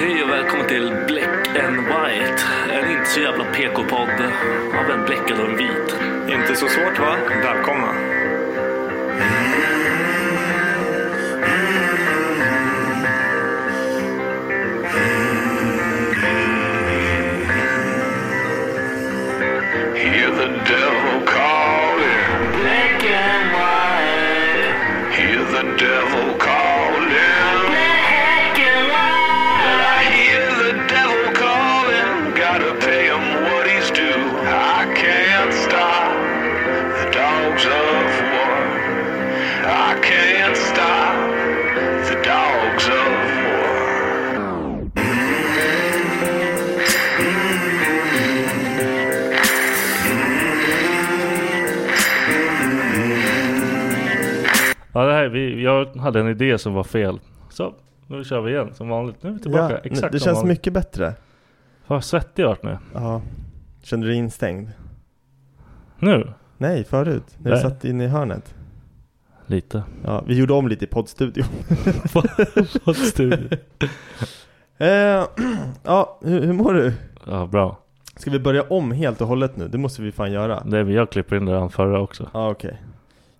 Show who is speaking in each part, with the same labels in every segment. Speaker 1: Hej och välkommen till Black and White. En inte så jävla PK-podd av en bläckad och en vit.
Speaker 2: Inte så svårt va? Välkomna.
Speaker 3: Hear the devil calling. Black and white. Hear the devil calling. Black and white. I hear the devil calling. Gotta pay him what he's due. I can't stop the dogs of war. I can't stop the dogs of war.
Speaker 1: Ja, det här, vi, jag hade en idé som var fel. Så, nu kör vi igen som vanligt. Nu är vi tillbaka.
Speaker 4: Ja,
Speaker 1: Exakt
Speaker 4: det
Speaker 1: som
Speaker 4: känns
Speaker 1: vanligt.
Speaker 4: mycket bättre.
Speaker 1: Vad svettig jag varit nu.
Speaker 4: Ja. Kände du dig instängd?
Speaker 1: Nu?
Speaker 4: Nej, förut. När du
Speaker 1: Nej.
Speaker 4: satt inne i hörnet.
Speaker 1: Lite.
Speaker 4: Ja, vi gjorde om lite i poddstudion.
Speaker 1: Vad stur.
Speaker 4: eh, ja, hur, hur mår du?
Speaker 1: Ja, bra.
Speaker 4: Ska vi börja om helt och hållet nu? Det måste vi fan göra.
Speaker 1: Det, jag klipper in det där förra också.
Speaker 4: Ja, okej.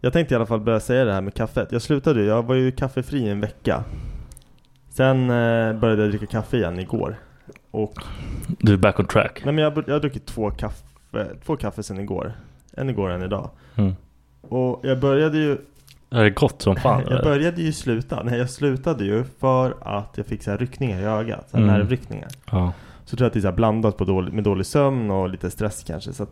Speaker 4: Jag tänkte i alla fall börja säga det här med kaffet. Jag slutade ju, jag var ju kaffefri en vecka. Sen eh, började jag dricka kaffe igen igår. Och,
Speaker 1: Du är back on track.
Speaker 4: nej men jag, jag har druckit två kaffe, två kaffe sen igår. En igår och en idag.
Speaker 1: Mm.
Speaker 4: Och jag började ju
Speaker 1: Är det gott som fan?
Speaker 4: jag
Speaker 1: eller?
Speaker 4: började ju sluta, nej jag slutade ju för att jag fick så här ryckningar i ögat, så här
Speaker 1: Mm.
Speaker 4: nervryckningar.
Speaker 1: Ja.
Speaker 4: Så tror jag att det är så här blandat på dålig, med dålig sömn och lite stress kanske. Så att,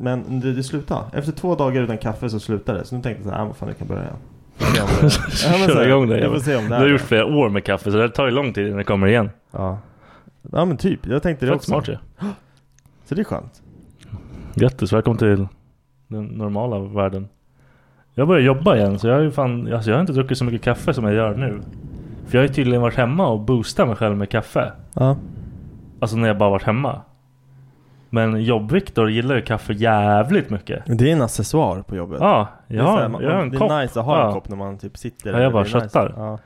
Speaker 4: men det, det slutade. Efter två dagar utan kaffe så slutade det. Så nu tänkte jag så här, ah, vad fan jag kan börja igen. Jag kan börja igen. Ja, men så
Speaker 1: Kör
Speaker 4: här,
Speaker 1: igång det.
Speaker 4: Jag får se om det
Speaker 1: Du har
Speaker 4: här.
Speaker 1: gjort flera år med kaffe så det tar ju lång tid innan det kommer igen.
Speaker 4: Ja. ja men typ, jag tänkte det
Speaker 1: Fett
Speaker 4: också.
Speaker 1: smart ju.
Speaker 4: Så det är skönt.
Speaker 1: Grattis, välkommen till den normala världen. Jag börjar jobba igen så jag har ju fan, alltså jag har inte druckit så mycket kaffe som jag gör nu. För jag har ju tydligen varit hemma och boostat mig själv med kaffe.
Speaker 4: Ja.
Speaker 1: Alltså när jag bara varit hemma. Men jobb-Viktor gillar ju kaffe jävligt mycket.
Speaker 4: Men det är en accessoar på jobbet.
Speaker 1: Ja,
Speaker 4: Det är
Speaker 1: jag
Speaker 4: så
Speaker 1: har,
Speaker 4: här, man-
Speaker 1: jag har
Speaker 4: man-
Speaker 1: en
Speaker 4: det är
Speaker 1: kopp.
Speaker 4: nice att ha
Speaker 1: ja.
Speaker 4: en kopp när man typ sitter
Speaker 1: Ja, jag
Speaker 4: eller
Speaker 1: bara
Speaker 4: det är
Speaker 1: köttar.
Speaker 4: Nice. Ja.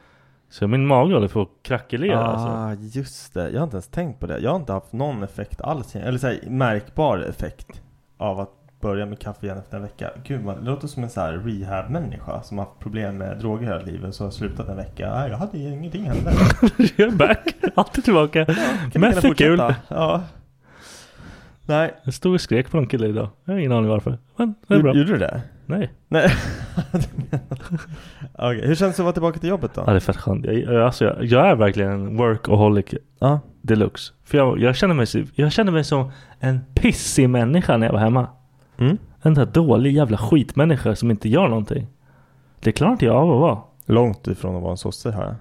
Speaker 1: Så min mage håller på att krackelera alltså.
Speaker 4: Ah, just det. Jag har inte ens tänkt på det. Jag har inte haft någon effekt alls. Eller så här, märkbar effekt av att börja med kaffe igen efter en vecka. Gud, man, det låter som en så här rehab-människa som har haft problem med droger hela livet och så har slutat en vecka. Nej, jag hade ju- ingenting hände.
Speaker 1: jag är back, alltid tillbaka.
Speaker 4: Kan vi
Speaker 1: Men
Speaker 4: gärna
Speaker 1: det är kul.
Speaker 4: fortsätta? Ja. Nej,
Speaker 1: Jag stod och skrek på någon kille idag. Jag har ingen aning varför. Men det är bra.
Speaker 4: gjorde gjorde du det?
Speaker 1: Nej.
Speaker 4: Nej. Okej, Hur känns det att vara tillbaka till jobbet
Speaker 1: Ja,
Speaker 4: då?
Speaker 1: det är fett skönt. Jag, jag- alltså, jag, jag är verkligen en workaholic
Speaker 4: Ja.
Speaker 1: deluxe. För jag, jag, känner mig, så- jag känner mig som en pissig människa när jag var hemma.
Speaker 4: Mm.
Speaker 1: En där dålig jävla skitmänniska som inte gör någonting. Det klarar inte jag av att vara.
Speaker 4: Långt ifrån att vara en sosse hör jag.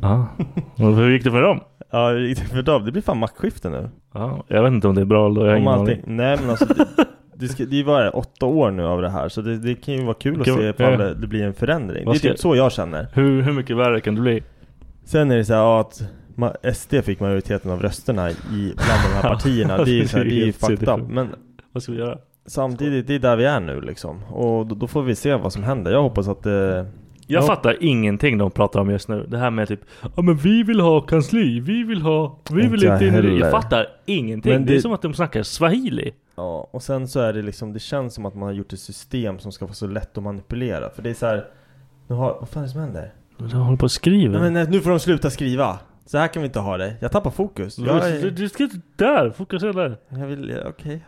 Speaker 1: Ja. Och hur gick det för dem?
Speaker 4: Ja, hur gick det för Dav? Det blir fan maktskifte nu.
Speaker 1: Ja, jag vet inte om det är bra eller jag har
Speaker 4: Om
Speaker 1: ingen
Speaker 4: allting.
Speaker 1: aning.
Speaker 4: Nej men alltså, det, det, ska, det är bara åtta år nu av det här, så det, det kan ju vara kul att
Speaker 1: Kul.
Speaker 4: se
Speaker 1: Ja.
Speaker 4: ifall det, det blir en förändring.
Speaker 1: Vad
Speaker 4: Det är
Speaker 1: ska-
Speaker 4: typ så jag känner.
Speaker 1: Hur, hur mycket värre kan det bli?
Speaker 4: Sen är det så här, ja, att ma- SD fick majoriteten av rösterna i, bland de här partierna. Det är ju så här, det är ju
Speaker 1: helt
Speaker 4: fucked up.
Speaker 1: sinnessjukt.
Speaker 4: Men
Speaker 1: Vad ska vi göra?
Speaker 4: samtidigt, det är där vi är nu liksom. Och då, då får vi se vad som händer. Jag hoppas att eh, det...
Speaker 1: Jag
Speaker 4: Ja.
Speaker 1: fattar ingenting de pratar om just nu. Det här med typ Ja men vi vill ha kansli, vi vill ha, vi vill
Speaker 4: Inte
Speaker 1: inte in i det."
Speaker 4: heller.
Speaker 1: Jag fattar ingenting.
Speaker 4: Men
Speaker 1: det... är
Speaker 4: det-
Speaker 1: som att de snackar swahili.
Speaker 4: Ja, och sen så är det liksom, det känns som att man har gjort ett system som ska vara så lätt att manipulera. För det är så här, nu har, vad fan är det som händer?
Speaker 1: De håller på och skriver.
Speaker 4: Nej, men nej, nu får de sluta skriva. Så här kan vi inte ha det. Jag tappar fokus. Jag,
Speaker 1: du, du,
Speaker 4: är-
Speaker 1: du ska inte där, fokusera där.
Speaker 4: jag vill, ja, okej.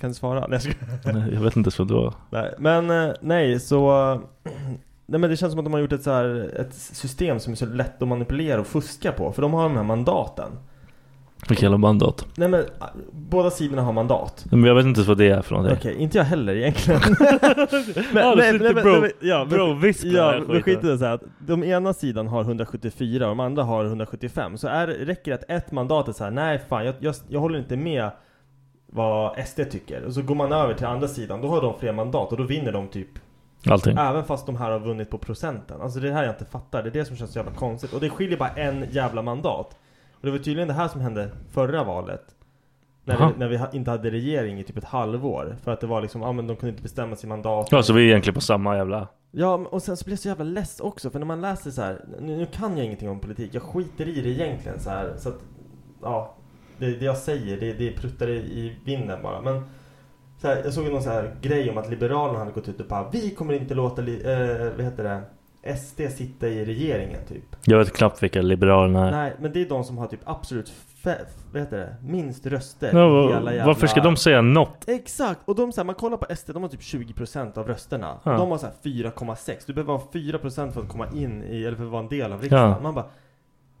Speaker 4: Kan du svara? Nej, jag skojar.
Speaker 1: Nej, jag vet inte ens vad det var.
Speaker 4: Nej, men eh, nej så... eh, Nej men det känns som att de har gjort ett, så här, ett system som är så lätt att manipulera och fuska på. För de har de här mandaten.
Speaker 1: Vilka jävla mandat.
Speaker 4: Nej men eh, båda sidorna har mandat.
Speaker 1: Men jag vet inte ens vad det är för någonting.
Speaker 4: Okej, inte jag heller egentligen. men,
Speaker 1: Ja, du sitter bro-
Speaker 4: ja, men-
Speaker 1: bro, vispla den här
Speaker 4: Ja,
Speaker 1: skiten.
Speaker 4: men skit i det så här att de ena sidan har 174 och de andra har 175. Så är, räcker det att ett mandat är så här, nej fan jag, jag, jag håller inte med vad SD tycker. Och så går man över till andra sidan, då har de fler mandat och då vinner de typ
Speaker 1: Allting.
Speaker 4: Även fast de här har vunnit på procenten. Alltså det är det här jag inte fattar. Det är det som känns så jävla konstigt. Och det skiljer bara en jävla mandat. Och det var tydligen det här som hände förra valet. När,
Speaker 1: Aha.
Speaker 4: vi, när vi ha- inte hade regering i typ ett halvår. För att det var liksom, ah, men de kunde inte bestämma sin mandat.
Speaker 1: Ja så vi är egentligen på samma jävla...
Speaker 4: Ja, men- och sen så blir jag så jävla less också. För när man läser så här, nu, nu kan jag ingenting om politik. Jag skiter i det egentligen så här. Så att, ja. Det, det jag säger, det, det pruttar i, i vinden bara. Men så här, jag såg ju någon så här grej om att Liberalerna hade gått ut och bara Vi kommer inte låta, li, eh, vad heter det, SD sitta i regeringen typ.
Speaker 1: Jag vet knappt vilka Liberalerna är.
Speaker 4: Nej, men det är de som har typ absolut, fe, vad heter det, minst röster
Speaker 1: Ja,
Speaker 4: i
Speaker 1: va-
Speaker 4: hela jävla...
Speaker 1: Varför ska de säga något?
Speaker 4: Exakt! Och de så här, man kollar på SD, de har typ 20% av rösterna.
Speaker 1: Ja.
Speaker 4: De har så här 4,6. Du behöver ha 4% för att komma in i, eller för att vara en del av riksdagen.
Speaker 1: Ja.
Speaker 4: Man bara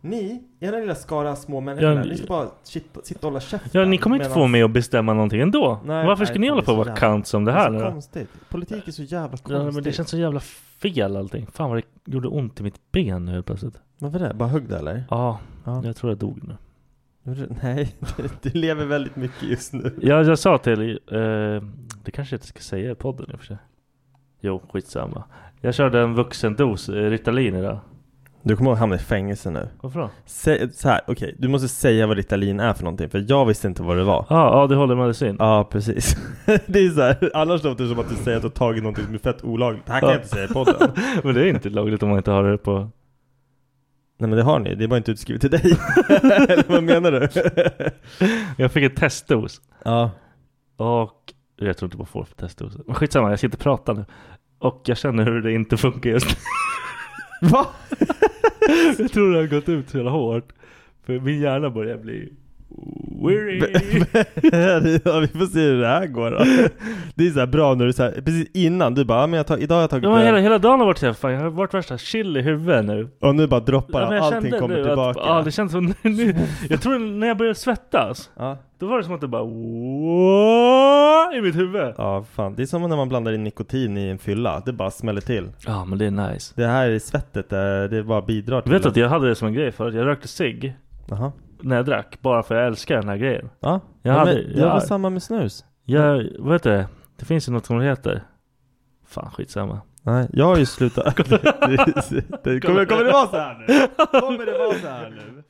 Speaker 4: ni, era lilla skara små människor,
Speaker 1: Ja,
Speaker 4: ni ska bara sitta, sitta och hålla käften.
Speaker 1: Ja ni kommer inte
Speaker 4: medan-
Speaker 1: få mig att bestämma någonting ändå.
Speaker 4: Nej,
Speaker 1: Varför ska
Speaker 4: nej,
Speaker 1: ni hålla
Speaker 4: det är
Speaker 1: på och
Speaker 4: så
Speaker 1: vara
Speaker 4: jävla-
Speaker 1: kant som det här
Speaker 4: är
Speaker 1: nu
Speaker 4: så
Speaker 1: då?
Speaker 4: konstigt. Politik är så jävla konstigt.
Speaker 1: Ja, men det känns så jävla fel allting. Fan vad det gjorde ont i mitt ben nu helt plötsligt.
Speaker 4: Varför det? Bara högg det eller?
Speaker 1: Ja,
Speaker 4: Ja.
Speaker 1: jag tror jag dog nu.
Speaker 4: Nej, du lever väldigt mycket just nu.
Speaker 1: Jag, jag sa till, eh, det kanske jag inte ska säga i podden i och för sig. Jo, skitsamma. Jag körde en vuxendos eh, Ritalin idag.
Speaker 4: Du kommer att hamna i fängelse nu.
Speaker 1: Varför då?
Speaker 4: Sä, så här, okej, du måste säga vad Ritalin är för någonting, för jag visste inte vad det var.
Speaker 1: Ja, ah, ADHD-medicin.
Speaker 4: Ja, precis. Det är så här, annars låter det som att du säger att du har tagit någonting som är fett olagligt. Det här kan
Speaker 1: Ja.
Speaker 4: jag inte säga i podden.
Speaker 1: Men det är inte lagligt om man inte har det på...
Speaker 4: Nej men det har ni, det är bara inte utskrivet till dig. Eller vad menar du?
Speaker 1: Jag fick en testdos.
Speaker 4: ja.
Speaker 1: Och... Jag tror inte man får för testdoser. Men skitsamma, jag ska inte prata nu. Och jag känner hur det inte funkar just nu.
Speaker 4: Va?
Speaker 1: Jag tror det har gått ut så jävla hårt. För min hjärna börjar bli... Weary.
Speaker 4: ja, vi får se hur det här går då. Det är så här bra när du så här, precis innan du bara, ja, men jag tar, idag har jag tagit
Speaker 1: Ja, men
Speaker 4: det.
Speaker 1: hela, hela dagen har varit så här, fan, jag har varit värsta chill i huvudet nu.
Speaker 4: Och nu bara droppar
Speaker 1: Ja, men
Speaker 4: det,
Speaker 1: jag
Speaker 4: allting
Speaker 1: kände
Speaker 4: kommer
Speaker 1: nu
Speaker 4: tillbaka.
Speaker 1: Att, ja, det känns som nu, Jag tror när jag började svettas,
Speaker 4: ja.
Speaker 1: då var det som att det bara "Whoa!" i mitt huvud.
Speaker 4: ja, fan. Det är som när man blandar in nikotin i en fylla, det bara smäller till.
Speaker 1: Ja, men det är nice.
Speaker 4: Det här i svettet, eh, det bara bidrar
Speaker 1: Du
Speaker 4: till
Speaker 1: vet att jag hade det som en grej förut. Jag rökte cigg
Speaker 4: Jaha.
Speaker 1: när jag drack, bara för jag älskar den här grejen.
Speaker 4: Ja,
Speaker 1: Jag
Speaker 4: ja,
Speaker 1: hade-
Speaker 4: men,
Speaker 1: jag-
Speaker 4: jag var samma med snus.
Speaker 1: Jag, vad heter det? Det finns ju något som det heter. Fan, skitsamma.
Speaker 4: Nej, jag har ju slutat. det, det, det, kommer, kommer det vara så här nu? Kommer det vara så här nu?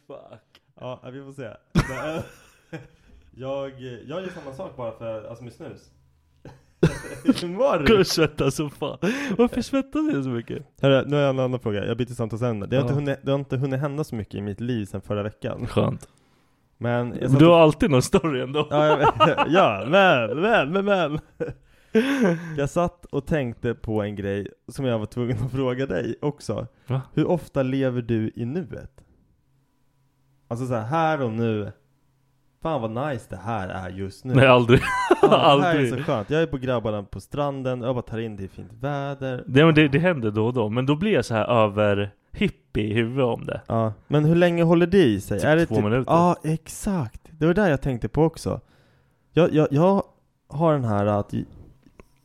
Speaker 4: Ja, vi får se. Men, eh, Jag, jag gör samma sak bara för, alltså med snus. Hur mår
Speaker 1: Gud,
Speaker 4: du?
Speaker 1: jag svettas som fan. Varför svettas jag så mycket?
Speaker 4: Hörru, nu har jag en annan fråga. Jag byter samtalsämne. Det
Speaker 1: Ja.
Speaker 4: har, inte hunnit, det har inte hunnit hända så mycket i mitt liv sedan förra veckan.
Speaker 1: Skönt.
Speaker 4: Men jag satt
Speaker 1: Du
Speaker 4: och-
Speaker 1: har alltid någon story ändå.
Speaker 4: Ja, jag- ja, men, men, men, men. Jag satt och tänkte på en grej som jag var tvungen att fråga dig också.
Speaker 1: Va?
Speaker 4: Hur ofta lever du i nuet? Alltså så här, här och nu. Fan vad nice det här är just nu.
Speaker 1: Nej, aldrig.
Speaker 4: Ja, det här är
Speaker 1: aldrig.
Speaker 4: så skönt. Jag är på grabbarna på stranden, jag bara tar in det i fint väder.
Speaker 1: Det, men det, det händer då och då, men då blir jag så här över hippie i huvudet om det.
Speaker 4: Ja, men hur länge håller det i sig?
Speaker 1: Typ
Speaker 4: är det
Speaker 1: två minuter.
Speaker 4: Ja, exakt. Det var det jag tänkte på också. Jag, jag, jag har den här att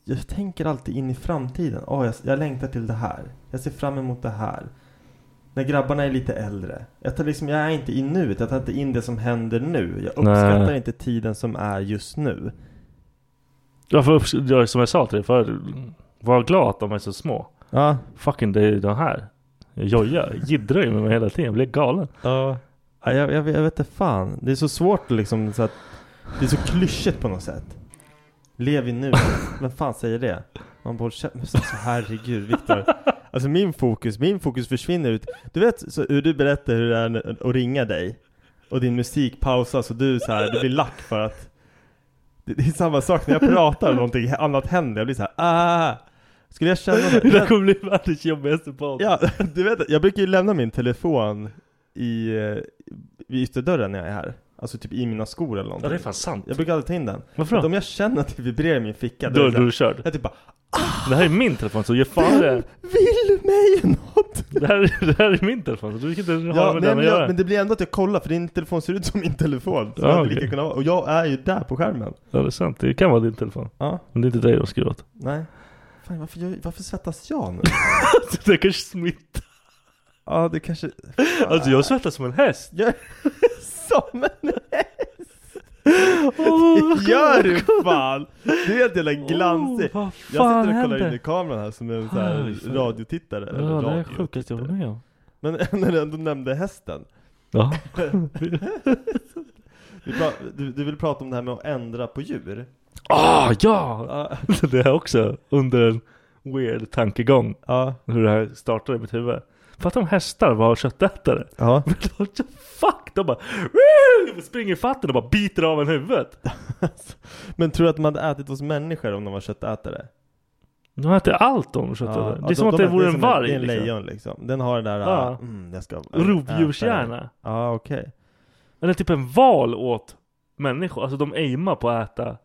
Speaker 4: jag tänker alltid in i framtiden. Åh, jag, jag längtar till det här. Jag ser fram emot det här. När grabbarna är lite äldre. Jag, tar liksom, jag är inte i nuet. Jag tar inte in det som händer nu. Jag uppskattar
Speaker 1: Nej.
Speaker 4: inte tiden som är just nu.
Speaker 1: Ja, för, upps- ja, som jag sa till dig förut, var glad att de är så små.
Speaker 4: Ja.
Speaker 1: Fucking det är ju de här. Joja, jiddrar ju med mig hela tiden, jag blir galen.
Speaker 4: Ja. Ja, jag, jag, jag vet inte fan. Det är så svårt att liksom så att, Det är så klyschigt på något sätt. Lev i nu. Vem fan säger det? Man borde känna så så herregud Viktor. Alltså min fokus, min fokus försvinner ut. Du vet så, hur du berättar hur det är när- att ringa dig. Och din musik pausas och du så här, du blir lack för att det, det är samma sak när jag pratar och någonting annat händer. Jag blir så här, ah! Skulle jag känna
Speaker 1: Det där kommer bli världens jobbigaste podd.
Speaker 4: Ja, du vet, jag brukar ju lämna min telefon i, eh, vid ytterdörren när jag är här. Alltså typ i mina skor
Speaker 1: Ja,
Speaker 4: eller någonting.
Speaker 1: det är fan sant.
Speaker 4: Jag brukar alltid ta in den.
Speaker 1: Varför
Speaker 4: För att
Speaker 1: då?
Speaker 4: om jag känner att det vibrerar i min ficka,
Speaker 1: Då är
Speaker 4: är det så här-
Speaker 1: du körd.
Speaker 4: jag typ bara
Speaker 1: Det här är min telefon så ge fan det.
Speaker 4: Vill mig något?
Speaker 1: Det här, är- det här är min telefon så du kan inte ha
Speaker 4: Ja,
Speaker 1: med
Speaker 4: nej,
Speaker 1: den
Speaker 4: men,
Speaker 1: att
Speaker 4: jag,
Speaker 1: göra.
Speaker 4: men det blir ändå att jag kollar för din telefon ser ut som min telefon. Så
Speaker 1: Ja,
Speaker 4: hade det
Speaker 1: okej.
Speaker 4: lika kunnat vara. Och jag är ju där på skärmen.
Speaker 1: Ja, det är sant. Det kan vara din telefon.
Speaker 4: Ja,
Speaker 1: Men det är inte dig de skriver åt.
Speaker 4: nej. Fan, varför, gör- varför svettas jag nu?
Speaker 1: Det kanske smittar.
Speaker 4: ja, det kanske...
Speaker 1: Alltså jag svettas som en häst.
Speaker 4: Jag som en häst! Gör du fan! Du är helt jävla glansig!
Speaker 1: Åh, vad
Speaker 4: jag
Speaker 1: fan
Speaker 4: sitter och kollar in i
Speaker 1: händer?
Speaker 4: kameran här som en så
Speaker 1: Aj,
Speaker 4: här
Speaker 1: fan.
Speaker 4: radiotittare.
Speaker 1: Ja,
Speaker 4: eller
Speaker 1: det är det
Speaker 4: radio.
Speaker 1: sjukaste jag varit med om.
Speaker 4: Men när du ändå nämnde hästen.
Speaker 1: Ja.
Speaker 4: Du, pra- du, du vill prata om det här med att ändra på djur.
Speaker 1: Ah, ja!
Speaker 4: Ja.
Speaker 1: Det är också under en weird tankegång.
Speaker 4: Ja.
Speaker 1: Hur det här startar i mitt huvud. Fatta om hästar var köttätare.
Speaker 4: Ja.
Speaker 1: Men de, fuck! De bara "Woo!" springer i fatten och bara biter av en huvudet.
Speaker 4: Men tror du att de hade ätit oss människor om de var köttätare?
Speaker 1: De äter allt de köttätare. det är som
Speaker 4: de-
Speaker 1: att det
Speaker 4: de-
Speaker 1: vore
Speaker 4: är
Speaker 1: en
Speaker 4: som
Speaker 1: varg.
Speaker 4: Det är en
Speaker 1: liksom.
Speaker 4: lejon liksom. Den har den där...
Speaker 1: Ja.
Speaker 4: ah, Mm, jag ska äta det.
Speaker 1: Rovdjurshjärna.
Speaker 4: Ja, okej.
Speaker 1: Eller typ en val åt människor. Alltså de aimar på att äta.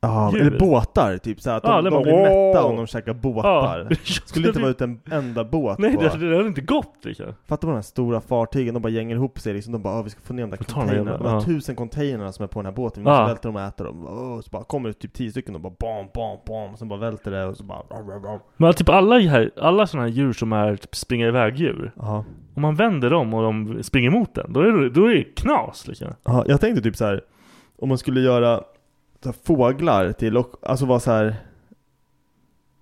Speaker 4: Ja,
Speaker 1: Djur.
Speaker 4: eller båtar typ så att de,
Speaker 1: Ja, eller
Speaker 4: de
Speaker 1: bara,
Speaker 4: blir mätta
Speaker 1: "Wow."
Speaker 4: om de käkar båtar. Skulle inte vara ut en enda båt
Speaker 1: Nej,
Speaker 4: på.
Speaker 1: det, det hade inte gått liksom.
Speaker 4: Fatta på de här stora fartygen, de bara gänger ihop sig liksom, de bara "Ah, vi ska få ner de där
Speaker 1: Jag tar den
Speaker 4: containrarna,
Speaker 1: jävla-
Speaker 4: de här
Speaker 1: ja.
Speaker 4: tusen containrarna som är på den här båten, vi måste
Speaker 1: Ja.
Speaker 4: välta dem och äta dem. Åh, Så bara kommer det typ tio stycken och bara bam, bam, bam, sen bara välter det och så bara rar, rar, rar.
Speaker 1: Men typ alla, här, alla sådana här djur som är typ springer iväg djur.
Speaker 4: Ja.
Speaker 1: Om man vänder dem och de springer mot den, då är det, då är det knas liksom.
Speaker 4: Ja, jag tänkte typ så här om man skulle göra så här, fåglar till och alltså vara så här.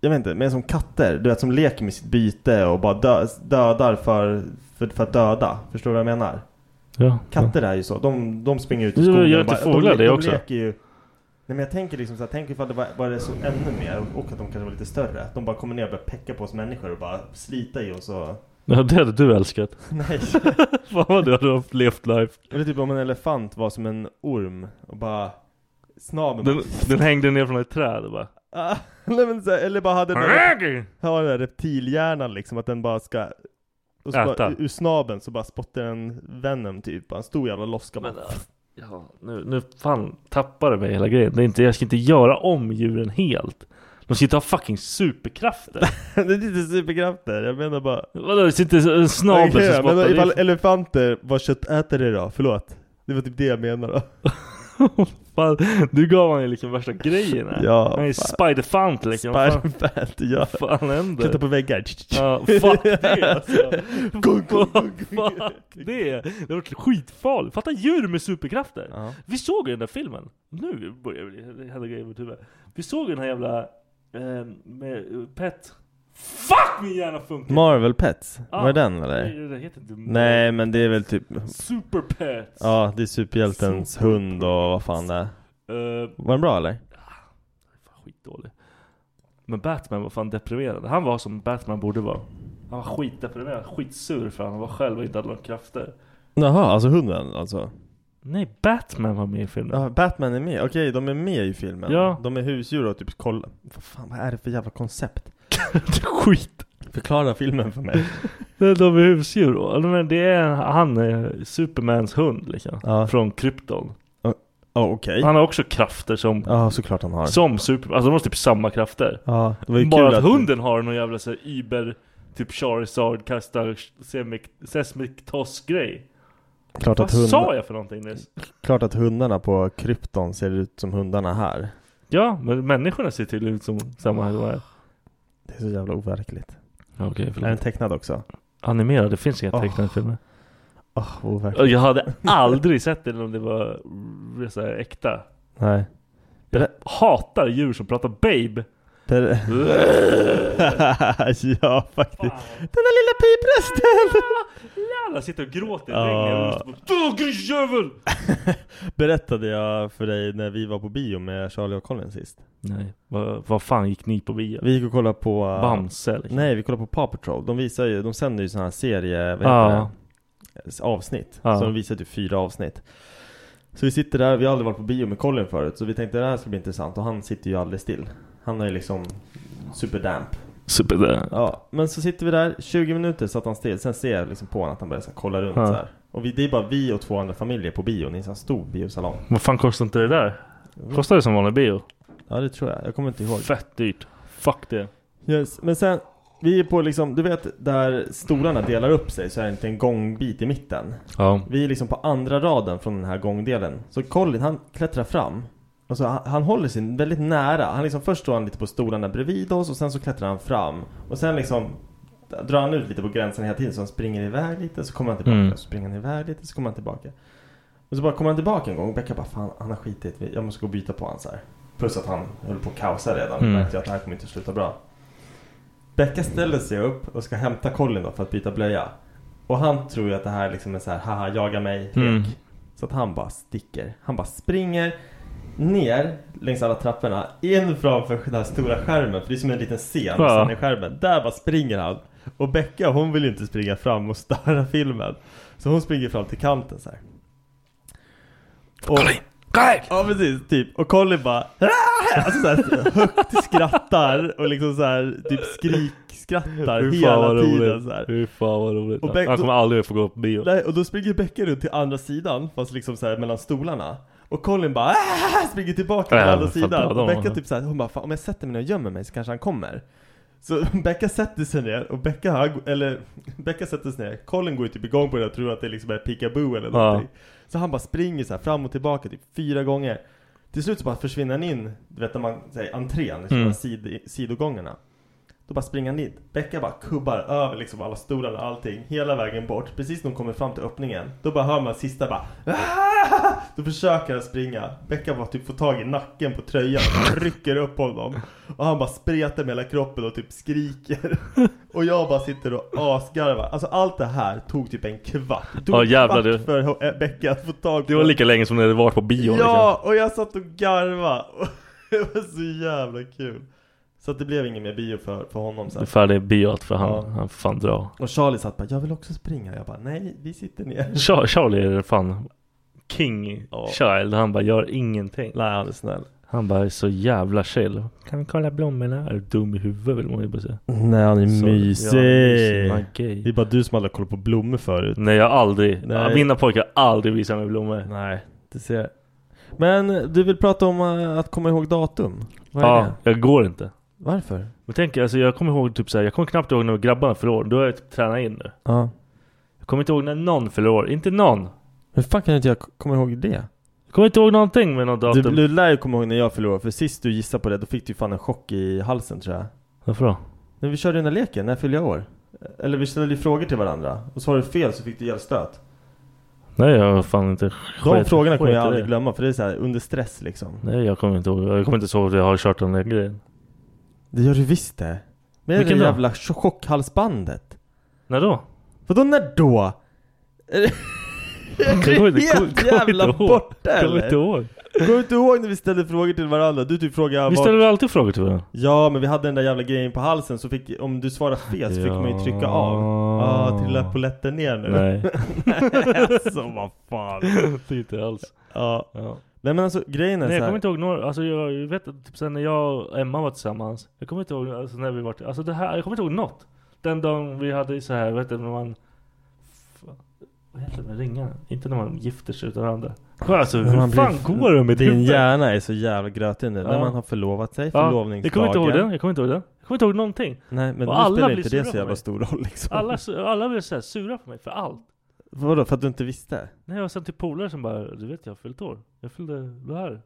Speaker 4: Jag vet inte, men som katter, du vet som leker med sitt byte och bara dö, dödar för, för, för att döda. Förstår du vad jag menar?
Speaker 1: Ja.
Speaker 4: Katter är ju så, de, de springer ut i
Speaker 1: Jo,
Speaker 4: skogen
Speaker 1: gör
Speaker 4: och
Speaker 1: till fåglar
Speaker 4: de, le-
Speaker 1: det
Speaker 4: de
Speaker 1: också.
Speaker 4: leker ju Nej men jag tänker liksom så här, tänk ifall det var, var det så ännu mer och att de kanske var lite större. Att de bara kommer ner och börjar pecka på oss människor och bara slita i oss och...
Speaker 1: ja, det hade du älskat.
Speaker 4: Nej.
Speaker 1: Fan vad du hade levt life.
Speaker 4: Eller typ om en elefant var som en orm och bara... Snabeln
Speaker 1: Den, den hängde ner från ett träd och bara...
Speaker 4: Ah, Nej, men så här, eller bara hade den där, ha den där reptilhjärnan liksom, att den bara ska... Och så
Speaker 1: Äta.
Speaker 4: bara, ur snabeln så bara spottar den Venom typ, bara en stor jävla loska bara.
Speaker 1: Men, ja, ja, nu, nu fan tappar det mig hela grejen. Det är inte, jag ska inte göra om djuren helt. De ska inte ha fucking superkrafter.
Speaker 4: det är inte superkrafter, jag menar bara...
Speaker 1: Vadå, det sitter en snabel
Speaker 4: Okej,
Speaker 1: som
Speaker 4: men då,
Speaker 1: spottar
Speaker 4: ifall
Speaker 1: i...
Speaker 4: elefanter var köttätare då, förlåt. Det var typ det jag menade då.
Speaker 1: Fan, nu gav han ju liksom värsta grejen här.
Speaker 4: Ja,
Speaker 1: han är ju spiderfant liksom. Vad fan,
Speaker 4: Spiderfant, ja.
Speaker 1: fan händer?
Speaker 4: Klättra på väggar.
Speaker 1: Ja, fuck det alltså.
Speaker 4: Gung, gung,
Speaker 1: Fuck det. Det har varit skitfarligt. Fatta djur med superkrafter.
Speaker 4: Ja.
Speaker 1: Vi såg ju den där filmen. Nu börjar det bli- hända grejer i mitt huvud. Vi såg den här jävla eh, med eh, Pet. Fuck min hjärna funkar!
Speaker 4: Marvel Pets,
Speaker 1: Ja.
Speaker 4: var det den eller?
Speaker 1: Nej, det heter inte
Speaker 4: Nej men det är väl typ,
Speaker 1: Super Pets.
Speaker 4: ja det är superhjältens
Speaker 1: Super-
Speaker 4: hund och vad fan det är.
Speaker 1: Eh,
Speaker 4: Var den bra eller?
Speaker 1: fan, skitdålig. Men Batman var fan deprimerad. Han var som Batman borde vara. Han var skitdeprimerad, skitsur för han var själv och inte hade några krafter.
Speaker 4: Jaha, alltså hunden alltså?
Speaker 1: Nej, Batman var med i filmen.
Speaker 4: Ja, Batman är med, okej de är med i filmen.
Speaker 1: Ja.
Speaker 4: De är husdjur och typ kolla, vad fan vad är det för jävla koncept?
Speaker 1: Skit.
Speaker 4: Förklara filmen för mig.
Speaker 1: Nej, De är husdjur. då. Eller, men Det är han, är Supermans hund liksom.
Speaker 4: Ja.
Speaker 1: Från Krypton.
Speaker 4: Ja okej.
Speaker 1: Han har också krafter som,
Speaker 4: Ja såklart han har.
Speaker 1: som Superman. Alltså de har typ samma krafter.
Speaker 4: Ja, det var ju
Speaker 1: Bara
Speaker 4: kul
Speaker 1: att, hunden har någon jävla så här, Iber, typ Charizard kastar semic- Seismic toss grej.
Speaker 4: Klart
Speaker 1: Vad
Speaker 4: att, hund,
Speaker 1: sa jag för någonting nyss?
Speaker 4: klart att hundarna på krypton ser ut som hundarna här.
Speaker 1: Ja, men människorna ser tydligen ut som samma här. Okej,
Speaker 4: Det är så jävla overkligt. Är den
Speaker 1: förlåt. Ah.
Speaker 4: tecknad också?
Speaker 1: Animerad, det finns inga
Speaker 4: Åh.
Speaker 1: tecknade filmer.
Speaker 4: Åh, overkligt.
Speaker 1: Jag hade aldrig sett den om det var mm, så här, äkta.
Speaker 4: Nej.
Speaker 1: Jag hatar djur som pratar babe.
Speaker 4: Det... ja, faktiskt. Den där lilla piprösten!
Speaker 1: Alla sitter och gråter i
Speaker 4: Ja.
Speaker 1: regnet. Dö grisjävel!
Speaker 4: Berättade jag för dig när vi var på bio med Charlie och Colin sist?
Speaker 1: Nej, vad, vad fan gick ni på bio?
Speaker 4: Vi gick och kollade på... eh,
Speaker 1: Bamse liksom.
Speaker 4: Nej, vi kollade på Paw Patrol. De visar ju, de sänder ju sådana här serie, vad heter
Speaker 1: Ja.
Speaker 4: det? Avsnitt.
Speaker 1: Ja.
Speaker 4: Så de visar typ fyra avsnitt. Så vi sitter där, vi har aldrig varit på bio med Colin förut, så vi tänkte det här ska bli intressant och han sitter ju aldrig still. Han är ju liksom superdamp.
Speaker 1: Super.
Speaker 4: Ja, men så sitter vi där, 20 minuter satt han still, sen ser jag liksom på honom att han börjar så här, kolla runt
Speaker 1: Ja.
Speaker 4: så här. Och vi, det är bara vi och två andra familjer på bion i en sån här stor biosalong.
Speaker 1: Vad fan kostar inte det där? Kostar det som vanlig bio?
Speaker 4: Ja det tror jag, jag kommer inte ihåg.
Speaker 1: Fett dyrt. Fuck det.
Speaker 4: Yes. Men sen, vi är på liksom, du vet där stolarna delar upp sig så är det inte en gångbit i mitten.
Speaker 1: Ja.
Speaker 4: Vi är liksom på andra raden från den här gångdelen. Så Colin han klättrar fram. Och så han, han håller sig väldigt nära. Han liksom, först står han lite på stolarna bredvid oss och sen så klättrar han fram. Och sen liksom drar han ut lite på gränsen hela tiden. Så han springer iväg lite, så kommer han tillbaka.
Speaker 1: Mm.
Speaker 4: Så springer han iväg lite, så kommer han tillbaka. Och så bara kommer han tillbaka en gång och Becka bara fan han har skitit, jag måste gå och byta på honom så här. Plus att han höll på att kaosa redan.
Speaker 1: Mm.
Speaker 4: Mm. Märkte jag att det här kommer inte sluta bra. Becka ställer sig upp och ska hämta Colin då för att byta blöja. Och han tror ju att det här liksom är så här, haha jaga mig, lek.
Speaker 1: Mm.
Speaker 4: Så att han bara sticker. Han bara springer ner längs alla trapporna, in framför den här stora skärmen. För det är som en liten scen
Speaker 1: Ja.
Speaker 4: sen i skärmen. Där bara springer han. Och Becka hon vill ju inte springa fram och störa filmen. Så hon springer fram till kanten så här. Och, Ja precis, typ. Och Colin bara "Ah!" alltså, så här, högt skrattar och liksom så här, typ skrikskrattar
Speaker 1: Fy fan vad
Speaker 4: hela tiden
Speaker 1: roligt.
Speaker 4: så här.
Speaker 1: Fy fan vad roligt.
Speaker 4: Och Bengt-
Speaker 1: Han kommer aldrig få gå på bio.
Speaker 4: Nej, och då springer Becka runt till andra sidan, fast liksom så här mellan stolarna. Och Colin bara "Ah!" springer tillbaka till
Speaker 1: Ja,
Speaker 4: andra
Speaker 1: men fan, döda
Speaker 4: sidan. Och
Speaker 1: honom.
Speaker 4: Becka typ så här, hon bara "Fan, om jag sätter mig ner och gömmer mig så kanske han kommer. Så Becka sätter sig ner och Becka, har- eller Becka sätter sig ner. Colin går ju typ igång på det och tror att det liksom är peekaboo eller
Speaker 1: Ja.
Speaker 4: någonting. Så han bara springer så här fram och tillbaka typ fyra gånger. Till slut så bara försvinner han in, du vet när man säger entrén, liksom
Speaker 1: Mm.
Speaker 4: sid, sidogångarna. Då bara springer han dit. Becka bara kubbar över liksom alla stolar och allting hela vägen bort. Precis när hon kommer fram till öppningen, då bara hör man sista bara "Ah!" Då försöker han springa. Becka bara typ får tag i nacken på tröjan och rycker upp honom. Och han bara spretar med hela kroppen och typ skriker. Och jag bara sitter och asgarvar. Alltså allt det här tog typ en kvart. Det tog
Speaker 1: Ja,
Speaker 4: en
Speaker 1: jävlar,
Speaker 4: kvart
Speaker 1: du.
Speaker 4: för eh, Becka att få tag på
Speaker 1: Det var lika länge som ni hade varit på bio liksom.
Speaker 4: Ja, och jag satt och garva. Och det var så jävla kul. Så att det blev ingen mer bio för, för honom
Speaker 1: Det är
Speaker 4: sen.
Speaker 1: färdig biot för han,
Speaker 4: Ja.
Speaker 1: han får fan dra.
Speaker 4: Och Charlie satt bara, jag vill också springa. Jag bara, nej, vi sitter ner.
Speaker 1: Char- Charlie är fan king
Speaker 4: Ja.
Speaker 1: child. Han bara gör ingenting.
Speaker 4: Nej, han är snäll.
Speaker 1: Han bara är så jävla chill. Kan vi kolla blommorna? Är du dum i huvudet vill man ju bara säga.
Speaker 4: Nej, han är
Speaker 1: Så- Ja, mysig, man är gay.
Speaker 4: Det är bara du som aldrig har koll på blommor förut.
Speaker 1: Nej jag har aldrig.
Speaker 4: Nej.
Speaker 1: Mina pojkar har aldrig visat mig blommor.
Speaker 4: Nej, det ser jag. Men du vill prata om eh, att komma ihåg datum. Vad är
Speaker 1: Ja,
Speaker 4: det?
Speaker 1: jag går inte.
Speaker 4: Varför?
Speaker 1: Men tänk alltså jag kommer ihåg typ så här, jag kommer knappt ihåg när grabbarna förlorar. Då har jag typ tränat in nu.
Speaker 4: Ja.
Speaker 1: Jag kommer inte ihåg när någon förlorar. Inte någon.
Speaker 4: Hur fan kan inte jag k- komma ihåg det?
Speaker 1: Jag kommer inte ihåg någonting med något
Speaker 4: Du,
Speaker 1: datum.
Speaker 4: du lär ju komma ihåg när jag förlorade, för sist du gissade på det då fick du fan en chock i halsen tror jag.
Speaker 1: Varför då?
Speaker 4: När vi körde den där leken, när fyllde jag år? Eller vi ställde ju frågor till varandra och svarade du fel så fick du hjälpstöt.
Speaker 1: Nej jag har fan inte
Speaker 4: De
Speaker 1: skit-
Speaker 4: frågorna kommer
Speaker 1: skit i
Speaker 4: jag
Speaker 1: det.
Speaker 4: aldrig glömma för det är så här under stress liksom.
Speaker 1: Nej jag kommer inte ihåg. Jag kommer inte ihåg att jag har kört den där grejen.
Speaker 4: Det gör du visst det. Med
Speaker 1: Vilken
Speaker 4: det
Speaker 1: då?
Speaker 4: jävla ch- chockhalsbandet.
Speaker 1: När då?
Speaker 4: Vadå när då? Är det-
Speaker 1: Jag kommer inte-
Speaker 4: Helt
Speaker 1: kommer- kommer
Speaker 4: jävla
Speaker 1: inte ihåg.
Speaker 4: borta,
Speaker 1: Jag
Speaker 4: eller?
Speaker 1: Kommer inte ihåg.
Speaker 4: Kommer du inte ihåg när vi ställde frågor till varandra? Du typ frågade
Speaker 1: Vi
Speaker 4: vart-
Speaker 1: ställer alltid frågor till varandra.
Speaker 4: Ja men vi hade den där jävla grejen på halsen så fick, om du svarade fel så fick man ju trycka av.
Speaker 1: Ja.
Speaker 4: ah, trillar polletten ner nu?
Speaker 1: Nej. Typ
Speaker 4: alltså vad fan.
Speaker 1: inte alls.
Speaker 4: Ja.
Speaker 1: Ja.
Speaker 4: Nej men alltså grejen är
Speaker 1: Nej
Speaker 4: så
Speaker 1: jag
Speaker 4: här.
Speaker 1: kommer inte ihåg några, alltså jag jag vet att typ sen när jag och Emma var tillsammans Jag kommer inte ihåg, alltså när vi var alltså det här, jag kommer inte ihåg något Den dagen vi hade så här, vet du när man Fan, Vad heter det med ringarna? Inte när man gifter sig utan andra Alltså hur
Speaker 4: Man
Speaker 1: fan
Speaker 4: blir-
Speaker 1: går det med
Speaker 4: Din
Speaker 1: huvudet?
Speaker 4: hjärna är så jävla grötig nu. När
Speaker 1: Ja.
Speaker 4: man har förlovat sig,
Speaker 1: Ja,
Speaker 4: förlovningsdagen.
Speaker 1: Jag kommer inte ihåg den, jag kommer inte ihåg den Jag kommer inte ihåg någonting
Speaker 4: Nej men
Speaker 1: Och
Speaker 4: nu
Speaker 1: alla
Speaker 4: spelar
Speaker 1: blir
Speaker 4: inte
Speaker 1: sura
Speaker 4: det så
Speaker 1: på
Speaker 4: jävla
Speaker 1: mig.
Speaker 4: stor roll liksom.
Speaker 1: Alla, su- alla blev såhär sura på mig för allt
Speaker 4: Vadå för att du inte visste?
Speaker 1: När jag var sen till polare som bara Du vet jag har fyllt år Jag fyllde det här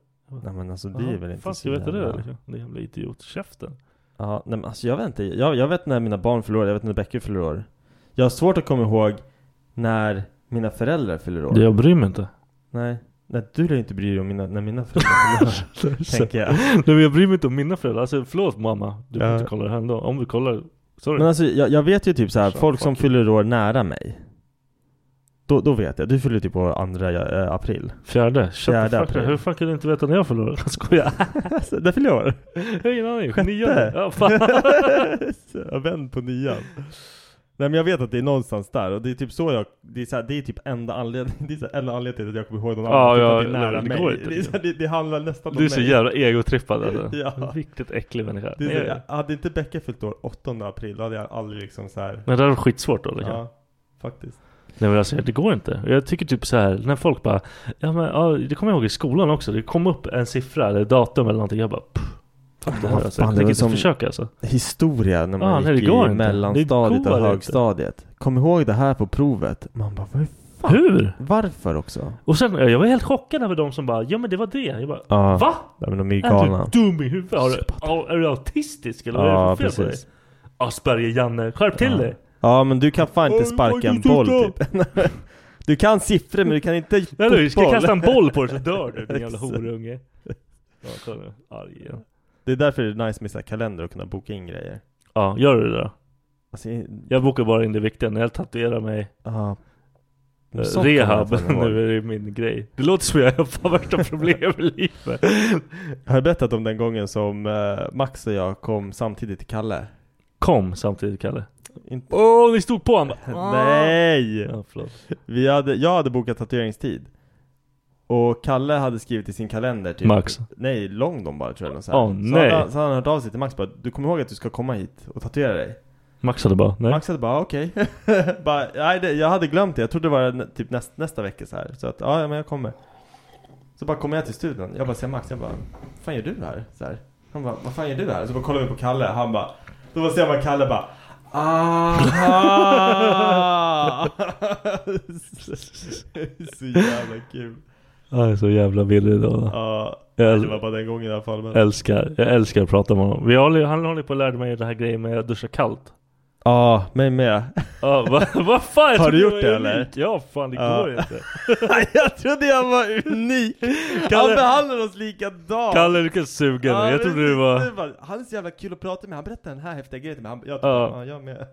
Speaker 4: Nej men alltså det
Speaker 1: Jaha,
Speaker 4: är väl inte
Speaker 1: fan,
Speaker 4: så
Speaker 1: ska jag veta det?
Speaker 4: jävla-
Speaker 1: liksom? Det är jävla idiot, käften
Speaker 4: Ja, nej men alltså jag vet inte. Jag, jag vet när mina barn förlorar, jag vet när Becker förlorar. Jag har svårt att komma ihåg när mina föräldrar fyller år.
Speaker 1: Jag bryr mig inte
Speaker 4: Nej. Nej, du lär ju inte bry dig om mina, när mina föräldrar Tänker jag.
Speaker 1: Nej men jag bryr mig inte om mina föräldrar. Alltså förlåt mamma. Du får
Speaker 4: Ja.
Speaker 1: inte kolla det här ändå. Om du kollar. Sorry.
Speaker 4: Men alltså jag, jag vet ju typ så här,
Speaker 1: Så,
Speaker 4: folk som
Speaker 1: fuck you.
Speaker 4: fyller år nära mig. Då, då vet jag. Du fyller typ år andra eh, april.
Speaker 1: Fjärde. Shut
Speaker 4: Fjärde
Speaker 1: the fuck
Speaker 4: april.
Speaker 1: up. Hur fan kan du inte veta när jag fyller år? Jag skojar.
Speaker 4: Alltså, där fyller jag år.
Speaker 1: Jag har ingen aning.
Speaker 4: Sjätte.
Speaker 1: Nionde. Ja, fan.
Speaker 4: Så jag vänd på nian. Nej men jag vet att det är någonstans där och det är typ så jag, det är, så här, det är typ enda anledningen, det är så här, enda anledningen till att jag kommer ihåg någon
Speaker 1: Ja,
Speaker 4: annan.
Speaker 1: ja,
Speaker 4: det är nära
Speaker 1: det
Speaker 4: mig.
Speaker 1: går inte.
Speaker 4: Det, är så här, det, det handlar nästan
Speaker 1: Du är
Speaker 4: om
Speaker 1: så
Speaker 4: mig.
Speaker 1: jävla egotrippad alltså.
Speaker 4: Ja.
Speaker 1: Riktigt äcklig människa.
Speaker 4: Det är så,
Speaker 1: Nej,
Speaker 4: jag, hade inte Becka fyllt år 8 april då hade jag aldrig liksom så här.
Speaker 1: Men det här var skitsvårt då. liksom.
Speaker 4: Ja, faktiskt.
Speaker 1: Nej men alltså det går inte. Jag tycker typ så här när folk bara Ja men ja, det kommer jag ihåg i skolan också. Det kom upp en siffra eller datum eller någonting. Jag bara pff, Fuck det här
Speaker 4: Vad
Speaker 1: alltså.
Speaker 4: fan,
Speaker 1: Jag
Speaker 4: det var
Speaker 1: tänker inte
Speaker 4: som-
Speaker 1: försöka alltså.
Speaker 4: Historia när man
Speaker 1: Ja, Ah, nej, det
Speaker 4: gick
Speaker 1: går
Speaker 4: i
Speaker 1: inte.
Speaker 4: mellanstadiet
Speaker 1: Det
Speaker 4: och
Speaker 1: går inte.
Speaker 4: högstadiet. Kom ihåg det här på provet. Man bara, "Vad fan?
Speaker 1: Hur?
Speaker 4: varför också?
Speaker 1: Och sen jag var helt chockad över de som bara Ja men det var det. Jag bara
Speaker 4: Ja.
Speaker 1: Va? typ-
Speaker 4: Nej men de är ju
Speaker 1: Är
Speaker 4: galna.
Speaker 1: du dum i huvudet? Har du, au- är du autistisk eller vad är
Speaker 4: Ja,
Speaker 1: det för fel på dig?
Speaker 4: precis.
Speaker 1: Asperger-Janne, skärp till
Speaker 4: Ja.
Speaker 1: dig!
Speaker 4: Ja men du kan fan inte
Speaker 1: Oj,
Speaker 4: sparka
Speaker 1: oj,
Speaker 4: en
Speaker 1: du
Speaker 4: boll
Speaker 1: tutta.
Speaker 4: typ. Du kan siffror men du kan inte
Speaker 1: Nej du, ska jag
Speaker 4: fotboll.
Speaker 1: kasta en boll på dig så dör du din jävla
Speaker 4: Exakt.
Speaker 1: horunge. Ja, kolla nu. Arg igen.
Speaker 4: Det är därför det är nice med så här kalender och kunna boka in grejer.
Speaker 1: Ja, gör du det då?
Speaker 4: Alltså, i-
Speaker 1: Jag bokar bara in det viktiga när jag tatuerar mig
Speaker 4: ja. Men
Speaker 1: Eh,
Speaker 4: sånt kan
Speaker 1: Rehab,
Speaker 4: jag fan ihåg.
Speaker 1: nu är det min grej. Det låter som jag har fan värsta problem i livet.
Speaker 4: Har jag berättat om den gången som eh, Max och jag kom samtidigt till Kalle?
Speaker 1: Kom samtidigt Kalle.
Speaker 4: Inte...
Speaker 1: Åh, ni stod på honom!
Speaker 4: Nej!
Speaker 1: Ja, förlåt.
Speaker 4: Vi hade, jag hade bokat tatueringstid. Och Kalle hade skrivit i sin kalender typ
Speaker 1: Max.
Speaker 4: Nej, London bara tror jag eller så, här.
Speaker 1: Åh,
Speaker 4: så,
Speaker 1: nej.
Speaker 4: hade, så hade han hört av sig till Max bara Du kommer ihåg att du ska komma hit och tatuera dig?
Speaker 1: Max hade bara, nej.
Speaker 4: Max hade bara "Ah, okej, Bara, nej det, jag hade glömt det, jag trodde det var nä- typ näst, nästa vecka så här. Så att ja, ja, men jag kommer Så bara kommer jag till studion, jag bara ser Max, jag bara Vad fan gör du här? Så här. Han bara, vad fan gör du här? Så bara kollar vi på Kalle, han bara Då bara ser man Kalle bara Ah! så jävla kul.
Speaker 1: Jag är så jävla villig då.
Speaker 4: Ja,
Speaker 1: Jag
Speaker 4: det var bara den gången i alla fall. Men...
Speaker 1: älskar, jag älskar att prata med honom. Vi håller, han håller på att lära mig den här grejen med att duscha kallt.
Speaker 4: Ja, mig med.
Speaker 1: Ja, vad vad fan? jag trodde
Speaker 4: Har du
Speaker 1: jag
Speaker 4: gjort
Speaker 1: var
Speaker 4: det, eller?
Speaker 1: unik. Ja, fan det
Speaker 4: Ja.
Speaker 1: går inte.
Speaker 4: jag trodde jag var unik.
Speaker 1: Kalle-
Speaker 4: Han behandlar oss likadant.
Speaker 1: Kalle du kan suga nu. Jag
Speaker 4: men
Speaker 1: trodde du var...
Speaker 4: du bara, Han är så jävla kul att prata med, han berättar den här häftiga grejen till mig. Han, jag,
Speaker 1: Ja.
Speaker 4: ja. jag med. Nej,